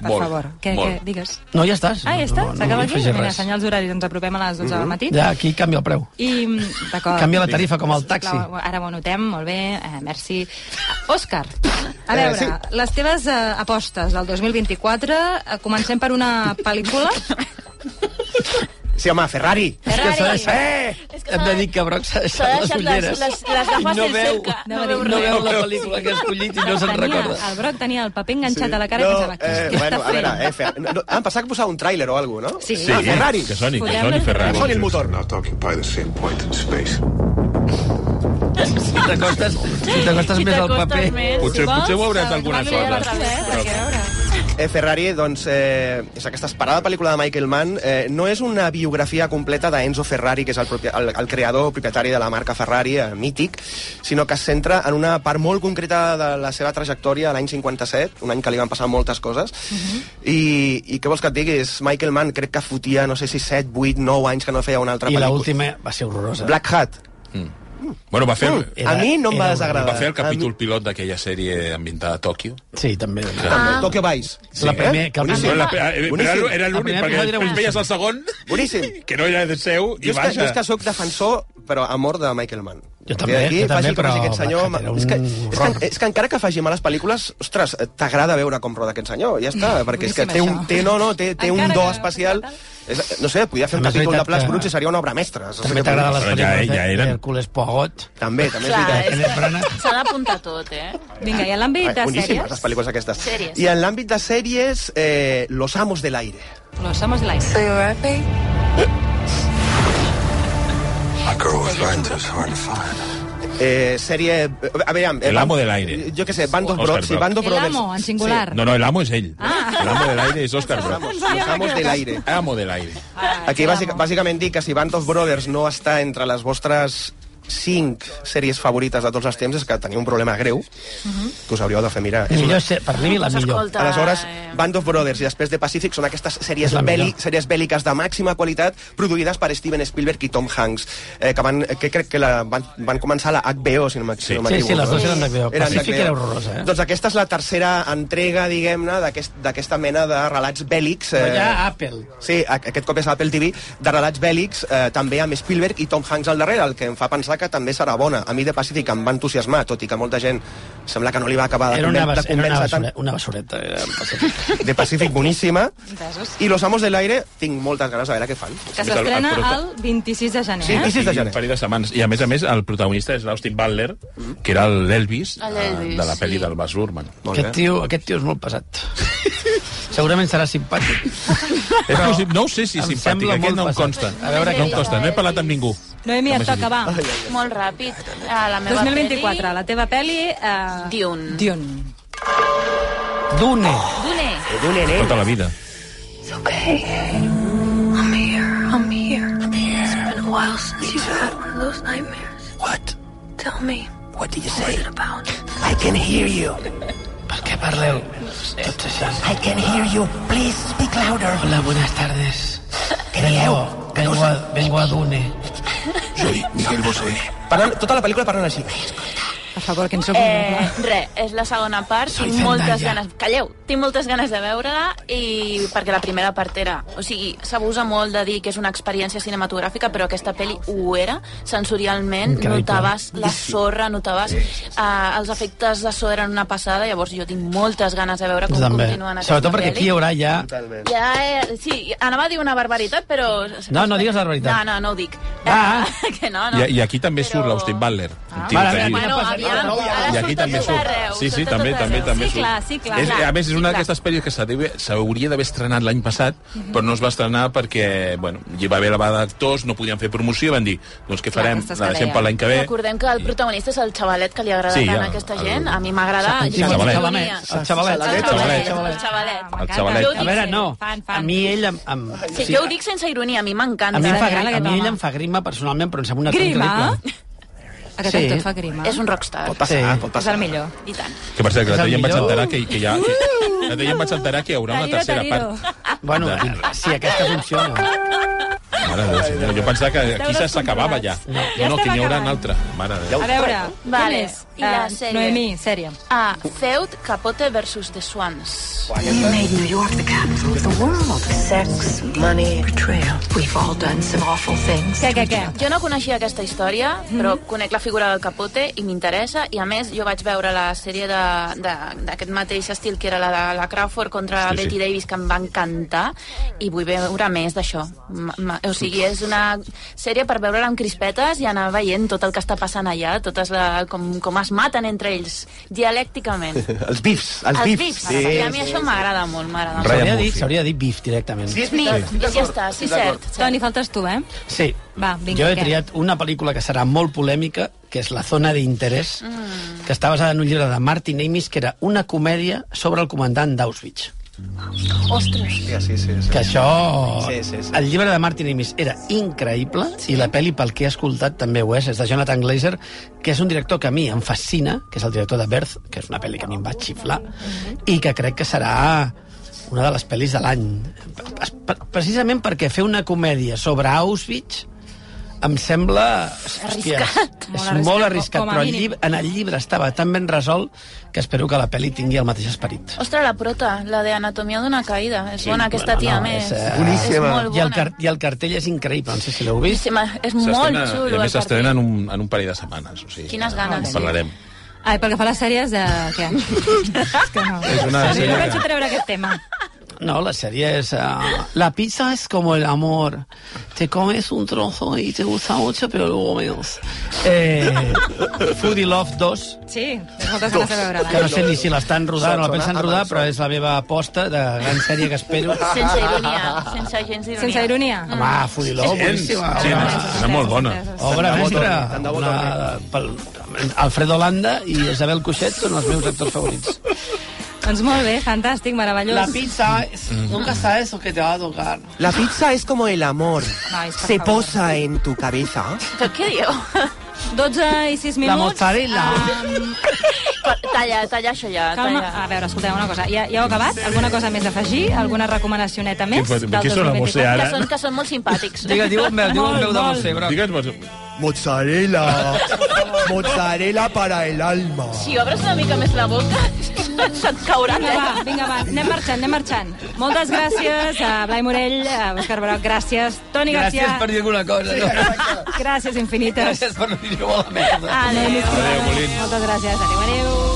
[SPEAKER 1] Per favor. Què, què, digues?
[SPEAKER 4] No, ja estàs.
[SPEAKER 1] Ah, ja està?
[SPEAKER 4] No, no,
[SPEAKER 1] S'acaba
[SPEAKER 4] no
[SPEAKER 1] aquí?
[SPEAKER 4] afegir
[SPEAKER 1] Vinga,
[SPEAKER 4] res. Mhm.
[SPEAKER 1] senyals horaris, ens apropem doncs a les 12 del matí.
[SPEAKER 4] Ja, aquí canvia el preu.
[SPEAKER 1] I, d'acord.
[SPEAKER 4] Canvia la tarifa com el taxi.
[SPEAKER 1] Ah, Sisplau, Ara ho notem, molt bé, eh, merci. Òscar, a
[SPEAKER 4] Eh,
[SPEAKER 1] veure,
[SPEAKER 4] sí.
[SPEAKER 1] les teves eh, apostes del 2024, eh, comencem per una
[SPEAKER 4] [laughs]
[SPEAKER 1] pel·lícula.
[SPEAKER 2] Sí, home, Ferrari.
[SPEAKER 4] És que s'ha deixat... Eh! Hem de dir que Broc s'ha
[SPEAKER 5] S'ha
[SPEAKER 4] deixat les
[SPEAKER 5] deixat les-
[SPEAKER 4] ulleres.
[SPEAKER 5] les- les gafes
[SPEAKER 4] I no
[SPEAKER 5] del
[SPEAKER 4] veu,
[SPEAKER 5] cerca.
[SPEAKER 4] No,
[SPEAKER 5] No
[SPEAKER 4] veu,
[SPEAKER 5] veu
[SPEAKER 4] no
[SPEAKER 5] res.
[SPEAKER 4] veu la pel·lícula que ha escollit i no se'n
[SPEAKER 1] Tenia,
[SPEAKER 4] recorda.
[SPEAKER 1] el Broc tenia el paper enganxat a la cara
[SPEAKER 2] no,
[SPEAKER 1] i pensava, què,
[SPEAKER 2] eh,
[SPEAKER 1] què
[SPEAKER 2] bueno,
[SPEAKER 1] està
[SPEAKER 2] a
[SPEAKER 1] fent?
[SPEAKER 2] veure, eh, Fer... no, no, ah, em pensava que posava un tràiler o alguna cosa, no?
[SPEAKER 1] Sí.
[SPEAKER 2] Ah, Ferrari.
[SPEAKER 7] Que soni, que
[SPEAKER 2] Podem-
[SPEAKER 7] soni Ferrari.
[SPEAKER 2] Que soni el motor.
[SPEAKER 11] Cannot occupy the same point in space.
[SPEAKER 4] Si t'acostes si t'acostes
[SPEAKER 2] Si
[SPEAKER 4] més al
[SPEAKER 2] t'acostes
[SPEAKER 4] paper...
[SPEAKER 2] més, Potser- si vols, potser veuràs
[SPEAKER 1] eh,
[SPEAKER 2] doncs alguna mira cosa. l'altra vegada, Eh, Ferrari, doncs, eh, és aquesta esperada pel·lícula de Michael Mann. Eh, no és una biografia completa d'Enzo Ferrari, que és el, propi, el, el creador, propietari de la marca Ferrari, eh, mític, sinó que es centra en una part molt concreta de la seva trajectòria a l'any 57, un any que li van passar moltes coses. I, I què vols que et digui? És Michael Mann crec que fotia, no sé si 7, 8, 9 anys que no feia una altra
[SPEAKER 4] I
[SPEAKER 2] pel·lícula.
[SPEAKER 4] l'última va ser horrorosa.
[SPEAKER 2] Black Hat.
[SPEAKER 7] Bueno, va fer...
[SPEAKER 2] Mm, a mi no em va Era- desagradar.
[SPEAKER 7] Va fer el capítol pilot d'aquella sèrie ambientada a Tòquio.
[SPEAKER 4] Sí, també.
[SPEAKER 2] Ah. Tokyo Vice.
[SPEAKER 7] Sí,
[SPEAKER 4] La primer-
[SPEAKER 7] eh?
[SPEAKER 4] que el
[SPEAKER 7] Boníssim.
[SPEAKER 4] primer-
[SPEAKER 7] Però la- eh,
[SPEAKER 4] Boníssim.
[SPEAKER 7] Era, era
[SPEAKER 4] El
[SPEAKER 7] l'únic,
[SPEAKER 4] primer
[SPEAKER 7] perquè
[SPEAKER 4] episodi era
[SPEAKER 7] després
[SPEAKER 4] boníssim.
[SPEAKER 7] veies el segon,
[SPEAKER 2] Boníssim.
[SPEAKER 7] que no era de
[SPEAKER 2] Jo
[SPEAKER 7] seu, i
[SPEAKER 2] és, que, jo
[SPEAKER 7] baixa.
[SPEAKER 2] és que sóc defensor, però a mort de Michael Mann. Jo
[SPEAKER 4] també, jo també, però,
[SPEAKER 2] Aquest senyor,
[SPEAKER 4] va, era
[SPEAKER 2] és, que,
[SPEAKER 4] un
[SPEAKER 2] és, que, és que encara que faci males pel·lícules, ostres, t'agrada veure com roda aquest senyor, ja està,
[SPEAKER 4] Mm.
[SPEAKER 2] perquè és que té un, té, no, no, té, té un do especial... És, no sé, podia fer un
[SPEAKER 4] També és
[SPEAKER 2] capítol de
[SPEAKER 4] veritat
[SPEAKER 2] Plats
[SPEAKER 4] que-
[SPEAKER 2] Bruts i seria una obra mestra. No sé
[SPEAKER 4] També
[SPEAKER 2] què
[SPEAKER 4] t'agraden les
[SPEAKER 7] eh,
[SPEAKER 2] podria ser.
[SPEAKER 4] pel·lícules ja, ja d'Hercules Poirot.
[SPEAKER 2] També, també Ah, és
[SPEAKER 5] Clar,
[SPEAKER 2] veritat.
[SPEAKER 5] és que s'ha d'apuntar tot, eh?
[SPEAKER 1] Vinga, i en l'àmbit de
[SPEAKER 2] Boníssimes,
[SPEAKER 1] sèries?
[SPEAKER 2] les pel·lícules aquestes.
[SPEAKER 1] Sèries.
[SPEAKER 2] I en l'àmbit de sèries, eh, Los Amos del Aire.
[SPEAKER 1] Los Amos del Aire.
[SPEAKER 13] So you alright, babe?
[SPEAKER 11] A girl with lines is hard to find.
[SPEAKER 2] Eh, sèrie... A veure,
[SPEAKER 7] El amo del aire.
[SPEAKER 2] Jo què sé, Band of
[SPEAKER 7] Oscar
[SPEAKER 2] Brothers. Sí,
[SPEAKER 7] Brock.
[SPEAKER 2] Band of
[SPEAKER 1] El
[SPEAKER 2] Brothers.
[SPEAKER 1] amo, en singular.
[SPEAKER 7] No, no, el amo és ell.
[SPEAKER 1] Ah.
[SPEAKER 7] El amo de l'aire és Òscar Brock.
[SPEAKER 2] Los amos, los amos del aire.
[SPEAKER 7] Amo de l'aire.
[SPEAKER 2] Aquí bàsic, bàsicament dic que si Band of Brothers no està entre les vostres cinc sèries favorites de tots els temps és que teniu un problema greu que us hauríeu de fer mirar. És
[SPEAKER 4] Millor ser- per mi, la Doncs millor. escolta,
[SPEAKER 2] Aleshores,
[SPEAKER 5] eh,
[SPEAKER 2] Band of Brothers i després de Pacific són aquestes sèries,
[SPEAKER 4] És la
[SPEAKER 2] bèl·li,
[SPEAKER 4] millor.
[SPEAKER 2] sèries bèl·liques de màxima qualitat produïdes per Steven Spielberg i Tom Hanks, eh, que, van, que crec que la, van, van començar a la HBO, si no m'equ- si no
[SPEAKER 4] Sí,
[SPEAKER 2] m'equivoco.
[SPEAKER 4] sí, les dues eren HBO. Pacific
[SPEAKER 2] HBO.
[SPEAKER 4] era horrorosa, eh?
[SPEAKER 2] Doncs aquesta és la tercera entrega, diguem-ne, d'aquest- d'aquesta mena de relats bèl·lics.
[SPEAKER 4] Però hi ha Apple.
[SPEAKER 2] Sí, a- aquest cop és Apple TV, de relats bèl·lics, eh, també amb Spielberg i Tom Hanks al darrere, el que em fa pensar que també serà bona. A mi de Pacific em va entusiasmar, tot i que molta gent sembla que no li va acabar de,
[SPEAKER 4] Era una,
[SPEAKER 2] conven- de
[SPEAKER 4] bas, era una,
[SPEAKER 2] convèncer tant.
[SPEAKER 4] basura, una basureta. eh, Era un Pacific.
[SPEAKER 2] De Pacific, boníssima. I Los Amos del Aire, tinc moltes ganes de veure què fan.
[SPEAKER 1] Que s'estrena el 26 de gener. eh?
[SPEAKER 7] Un parell de setmanes. I a més a més, el protagonista és l'Austin Butler, que era l'Elvis
[SPEAKER 1] El
[SPEAKER 7] eh,
[SPEAKER 1] Elvis,
[SPEAKER 7] de la pel·li
[SPEAKER 1] sí.
[SPEAKER 7] del Baz Luhrmann.
[SPEAKER 4] Aquest tio, aquest tio és molt pesat. Segurament serà simpàtic.
[SPEAKER 7] És possible, no ho sé si
[SPEAKER 4] Em
[SPEAKER 7] simpàtic,
[SPEAKER 4] sembla
[SPEAKER 7] aquest
[SPEAKER 4] molt
[SPEAKER 7] no em
[SPEAKER 4] pesat.
[SPEAKER 7] consta.
[SPEAKER 4] A veure,
[SPEAKER 7] no em
[SPEAKER 4] què-
[SPEAKER 7] consta, no he parlat amb ningú.
[SPEAKER 1] Noemi, et
[SPEAKER 7] Només he
[SPEAKER 1] toca,
[SPEAKER 7] dit.
[SPEAKER 1] va.
[SPEAKER 5] Molt ràpid. A la meva
[SPEAKER 1] 2024, la teva pel·li... Eh...
[SPEAKER 5] Dune.
[SPEAKER 1] Dune.
[SPEAKER 4] Dune.
[SPEAKER 5] Dune.
[SPEAKER 7] Tota la vida.
[SPEAKER 12] Okay. I'm here. I'm here. I'm here. It's been a while since you've had one of those nightmares. What? Tell me. What did you say? What's it about? I can hear you.
[SPEAKER 4] Per què parleu? Tots així.
[SPEAKER 12] I can hear you. Please speak louder.
[SPEAKER 4] Hola, buenas tardes.
[SPEAKER 12] Què
[SPEAKER 4] Vengo, vengo, a, vengo a Dune.
[SPEAKER 2] Soy Miguel Bosé. Parlen, tota la pel·lícula parlen així.
[SPEAKER 1] Per favor, que ens ho
[SPEAKER 5] Eh, re, és la segona part,
[SPEAKER 1] Soy
[SPEAKER 5] tinc moltes
[SPEAKER 1] Zendaya.
[SPEAKER 5] ganes... Calleu, tinc moltes ganes de veure-la i perquè la primera part era... O sigui, s'abusa molt de dir que és una experiència cinematogràfica, però aquesta pel·li ho era, sensorialment,
[SPEAKER 12] Increïble.
[SPEAKER 5] notaves la sorra, notaves... Eh, els efectes de so eren una passada, llavors jo tinc moltes ganes de veure com
[SPEAKER 4] Jo també.
[SPEAKER 5] continuen aquesta
[SPEAKER 4] Sobretot perquè aquí hi haurà ja...
[SPEAKER 5] Ja, eh, sí, anava a dir una barbaritat, però...
[SPEAKER 4] No, no digues la
[SPEAKER 5] No,
[SPEAKER 4] veritat.
[SPEAKER 5] no, no ho dic.
[SPEAKER 4] Ah.
[SPEAKER 5] [laughs] que no, no.
[SPEAKER 7] I, I aquí també surt l'Austin Butler. un tio
[SPEAKER 4] Vale,
[SPEAKER 7] que diu-
[SPEAKER 5] Bueno, aviam, ara
[SPEAKER 7] I aquí
[SPEAKER 5] surt a
[SPEAKER 7] també
[SPEAKER 5] tot
[SPEAKER 7] surt.
[SPEAKER 5] arreu.
[SPEAKER 7] Sí, sí,
[SPEAKER 5] surt a
[SPEAKER 7] també,
[SPEAKER 5] tot
[SPEAKER 7] també,
[SPEAKER 5] arreu.
[SPEAKER 7] també
[SPEAKER 5] sí,
[SPEAKER 7] surt.
[SPEAKER 5] Clar, sí, clar,
[SPEAKER 7] és,
[SPEAKER 5] clar.
[SPEAKER 7] a més, és
[SPEAKER 5] Sí,
[SPEAKER 7] una
[SPEAKER 5] clar.
[SPEAKER 7] d'aquestes pel·lis que s'hauria- s'hauria d'haver estrenat l'any passat, però no es va estrenar perquè, bueno, hi va haver la vaga d'actors, no podien fer promoció, van dir, doncs què farem,
[SPEAKER 5] aquestes
[SPEAKER 7] la
[SPEAKER 5] que
[SPEAKER 7] deixem
[SPEAKER 5] deien.
[SPEAKER 7] per l'any que ve.
[SPEAKER 5] Recordem que el protagonista és el xavalet que li agrada
[SPEAKER 7] Sí,
[SPEAKER 5] sí, tant
[SPEAKER 7] ja,
[SPEAKER 5] a aquesta
[SPEAKER 7] el-
[SPEAKER 5] gent. A mi m'agrada...
[SPEAKER 7] El
[SPEAKER 5] i la
[SPEAKER 7] xavalet.
[SPEAKER 5] sintonia.
[SPEAKER 4] El xavalet.
[SPEAKER 5] El
[SPEAKER 4] xavalet.
[SPEAKER 5] xavalet. El xavalet.
[SPEAKER 4] El
[SPEAKER 7] xavalet.
[SPEAKER 4] A veure, no. A mi ell... Em, em,
[SPEAKER 5] Sí, jo ho dic sense ironia, a mi m'encanta.
[SPEAKER 4] A mi, em fa grima, a mi ell em fa grima personalment, però em sembla un actor increïble.
[SPEAKER 1] Aquest
[SPEAKER 4] Sí.
[SPEAKER 1] actor et fa grima.
[SPEAKER 5] És un rockstar.
[SPEAKER 4] Pot
[SPEAKER 2] Ah,
[SPEAKER 4] passar,
[SPEAKER 7] pot
[SPEAKER 1] És el millor.
[SPEAKER 5] I tant.
[SPEAKER 7] Que per cert, que
[SPEAKER 4] És
[SPEAKER 7] l'altre
[SPEAKER 4] el
[SPEAKER 7] dia em vaig
[SPEAKER 4] millor.
[SPEAKER 7] enterar que, que hi ha... que- L'altre dia em vaig enterar que hi haurà una tercera part.
[SPEAKER 4] Bueno,
[SPEAKER 7] De-
[SPEAKER 4] si aquesta funciona.
[SPEAKER 7] Mare de Déu, senyor, jo pensava que aquí se s'acabava ja. No, no, que n'hi haurà una altra. Mare de Déu.
[SPEAKER 1] A veure,
[SPEAKER 5] Vale.
[SPEAKER 1] quin és?
[SPEAKER 5] I la
[SPEAKER 1] Eh,
[SPEAKER 5] sèrie?
[SPEAKER 1] Noemí, sèrie.
[SPEAKER 5] Ah, Feud, Capote versus The Swans.
[SPEAKER 13] You made New York the capital of the world. Sex, money, betrayal. We've all done some awful things.
[SPEAKER 1] Què, què, què?
[SPEAKER 5] Jo no coneixia aquesta història,
[SPEAKER 12] Mhm.
[SPEAKER 5] però conec la figura del Capote i m'interessa, i a més jo vaig veure la sèrie de- de- d'aquest mateix estil que era la de la Crawford contra
[SPEAKER 12] Sí, sí.
[SPEAKER 5] Betty Davis, que em va encantar, i vull veure més d'això. M- m- O sigui, és una sèrie per veure-la amb crispetes i anar veient tot el que està passant allà, totes la, com, com es maten entre ells, dialècticament.
[SPEAKER 2] els bifs, els,
[SPEAKER 5] Els
[SPEAKER 2] bifs.
[SPEAKER 5] bifs, sí, a mi això m'agrada molt, m'agrada molt.
[SPEAKER 4] S'hauria dit, s'hauria dit beef directament.
[SPEAKER 5] Smith, i ja està, sí, cert.
[SPEAKER 1] Toni, faltes tu, eh?
[SPEAKER 4] Sí.
[SPEAKER 1] Va, vinga,
[SPEAKER 4] Jo he
[SPEAKER 1] què?
[SPEAKER 4] triat una pel·lícula que serà molt polèmica, que és La zona d'interès,
[SPEAKER 1] Mm.
[SPEAKER 4] que està basada en un llibre de Martin Amis, que era una comèdia sobre el comandant d'Auschwitz.
[SPEAKER 5] Ostres.
[SPEAKER 2] Sí, sí, sí. sí.
[SPEAKER 4] Que això...
[SPEAKER 2] Sí, sí, sí.
[SPEAKER 4] El llibre de Martin Amis era increïble sí. i la pel·li, pel que he escoltat, també ho és. És de Jonathan Glazer, que és un director que a mi em fascina, que és el director de Birth, que és una pel·li que a mi em va xiflar, i que crec que serà una de les pel·lis de l'any. Es- per- Precisament perquè fer una comèdia sobre Auschwitz em sembla... Hòstia,
[SPEAKER 12] Arriscat.
[SPEAKER 4] És
[SPEAKER 12] Molt arriscat,
[SPEAKER 4] molt arriscat,
[SPEAKER 12] com a
[SPEAKER 4] però el
[SPEAKER 12] mínim.
[SPEAKER 4] llibre, en el llibre estava tan ben resolt que espero que la pel·li tingui el mateix esperit.
[SPEAKER 5] Ostres, la prota, la de Anatomia d'una caïda. És bona aquesta tia, a més.
[SPEAKER 4] eh,
[SPEAKER 5] És molt
[SPEAKER 4] I el,
[SPEAKER 5] bona.
[SPEAKER 4] car I el cartell és increïble, no sé si l'heu vist.
[SPEAKER 5] Boníssima, És molt
[SPEAKER 7] S'estrena-
[SPEAKER 5] xulo.
[SPEAKER 7] I a
[SPEAKER 5] el
[SPEAKER 7] més s'estrena en, un, en un parell de setmanes. O sigui,
[SPEAKER 5] Quines ganes,
[SPEAKER 7] En
[SPEAKER 5] sí.
[SPEAKER 7] parlarem.
[SPEAKER 1] Ai, pel que fa a les sèries, de...
[SPEAKER 5] [laughs]
[SPEAKER 1] què? és que no.
[SPEAKER 7] És una
[SPEAKER 1] Jo
[SPEAKER 7] sèrie
[SPEAKER 1] no vaig
[SPEAKER 7] que-
[SPEAKER 1] a treure aquest tema.
[SPEAKER 4] No, la serie es... ah, la pizza es como el amor. Te comes un trozo y te gusta mucho, pero luego menos. Eh,
[SPEAKER 5] [laughs]
[SPEAKER 4] Foodie Love 2,
[SPEAKER 1] Sí, tens moltes ganes de veure-la.
[SPEAKER 4] que no sé ni si l'estan rodant o la
[SPEAKER 1] Saps on
[SPEAKER 4] pensen
[SPEAKER 1] ha-
[SPEAKER 4] rodar, però és la meva aposta de gran sèrie que espero.
[SPEAKER 5] Sense ironia, sense gens ironia.
[SPEAKER 1] Sense ironia.
[SPEAKER 4] Home, Foodie Love, boníssima. home.
[SPEAKER 7] Era molt bona.
[SPEAKER 4] Obra mestra. Una, pel, Alfredo Landa i Isabel Cuixet són els meus actors favorits.
[SPEAKER 1] Doncs molt bé, fantàstic, meravellós.
[SPEAKER 4] La pizza es- nunca sabes lo que te va a tocar.
[SPEAKER 2] La pizza es como el amor.
[SPEAKER 1] Nois, per
[SPEAKER 2] Se
[SPEAKER 1] favor.
[SPEAKER 2] posa en tu cabeza.
[SPEAKER 5] Però què dieu? [laughs]
[SPEAKER 1] 12 i 6
[SPEAKER 4] La
[SPEAKER 1] minuts. Ah.
[SPEAKER 4] mozzarella.
[SPEAKER 1] Em,
[SPEAKER 5] Talla, talla això ja.
[SPEAKER 1] Calma.
[SPEAKER 5] Talla.
[SPEAKER 1] A veure, escolteu una cosa. Ja, ja heu acabat? Alguna cosa més a afegir? Alguna recomanacioneta més?
[SPEAKER 7] Què fa-
[SPEAKER 1] del
[SPEAKER 7] què sona
[SPEAKER 1] 2024?
[SPEAKER 7] Mosè ara?
[SPEAKER 5] Que són, que són molt simpàtics.
[SPEAKER 7] Digues, Montse.
[SPEAKER 17] Mozzarella. Mozzarella para el alma.
[SPEAKER 5] Si obres una mica més la boca, [laughs] se't caurà.
[SPEAKER 1] Vinga, va, vinga, va, anem marxant, anem marxant. Moltes gràcies a Blai Morell, a Òscar Baroc, gràcies. Toni Garcia,
[SPEAKER 4] Gràcies per dir alguna cosa. [laughs] No?
[SPEAKER 1] gràcies infinites.
[SPEAKER 4] Gràcies per no dir-ho a la merda.
[SPEAKER 1] Adéu.
[SPEAKER 4] Adéu,
[SPEAKER 1] Moltes gràcies, adéu, adéu.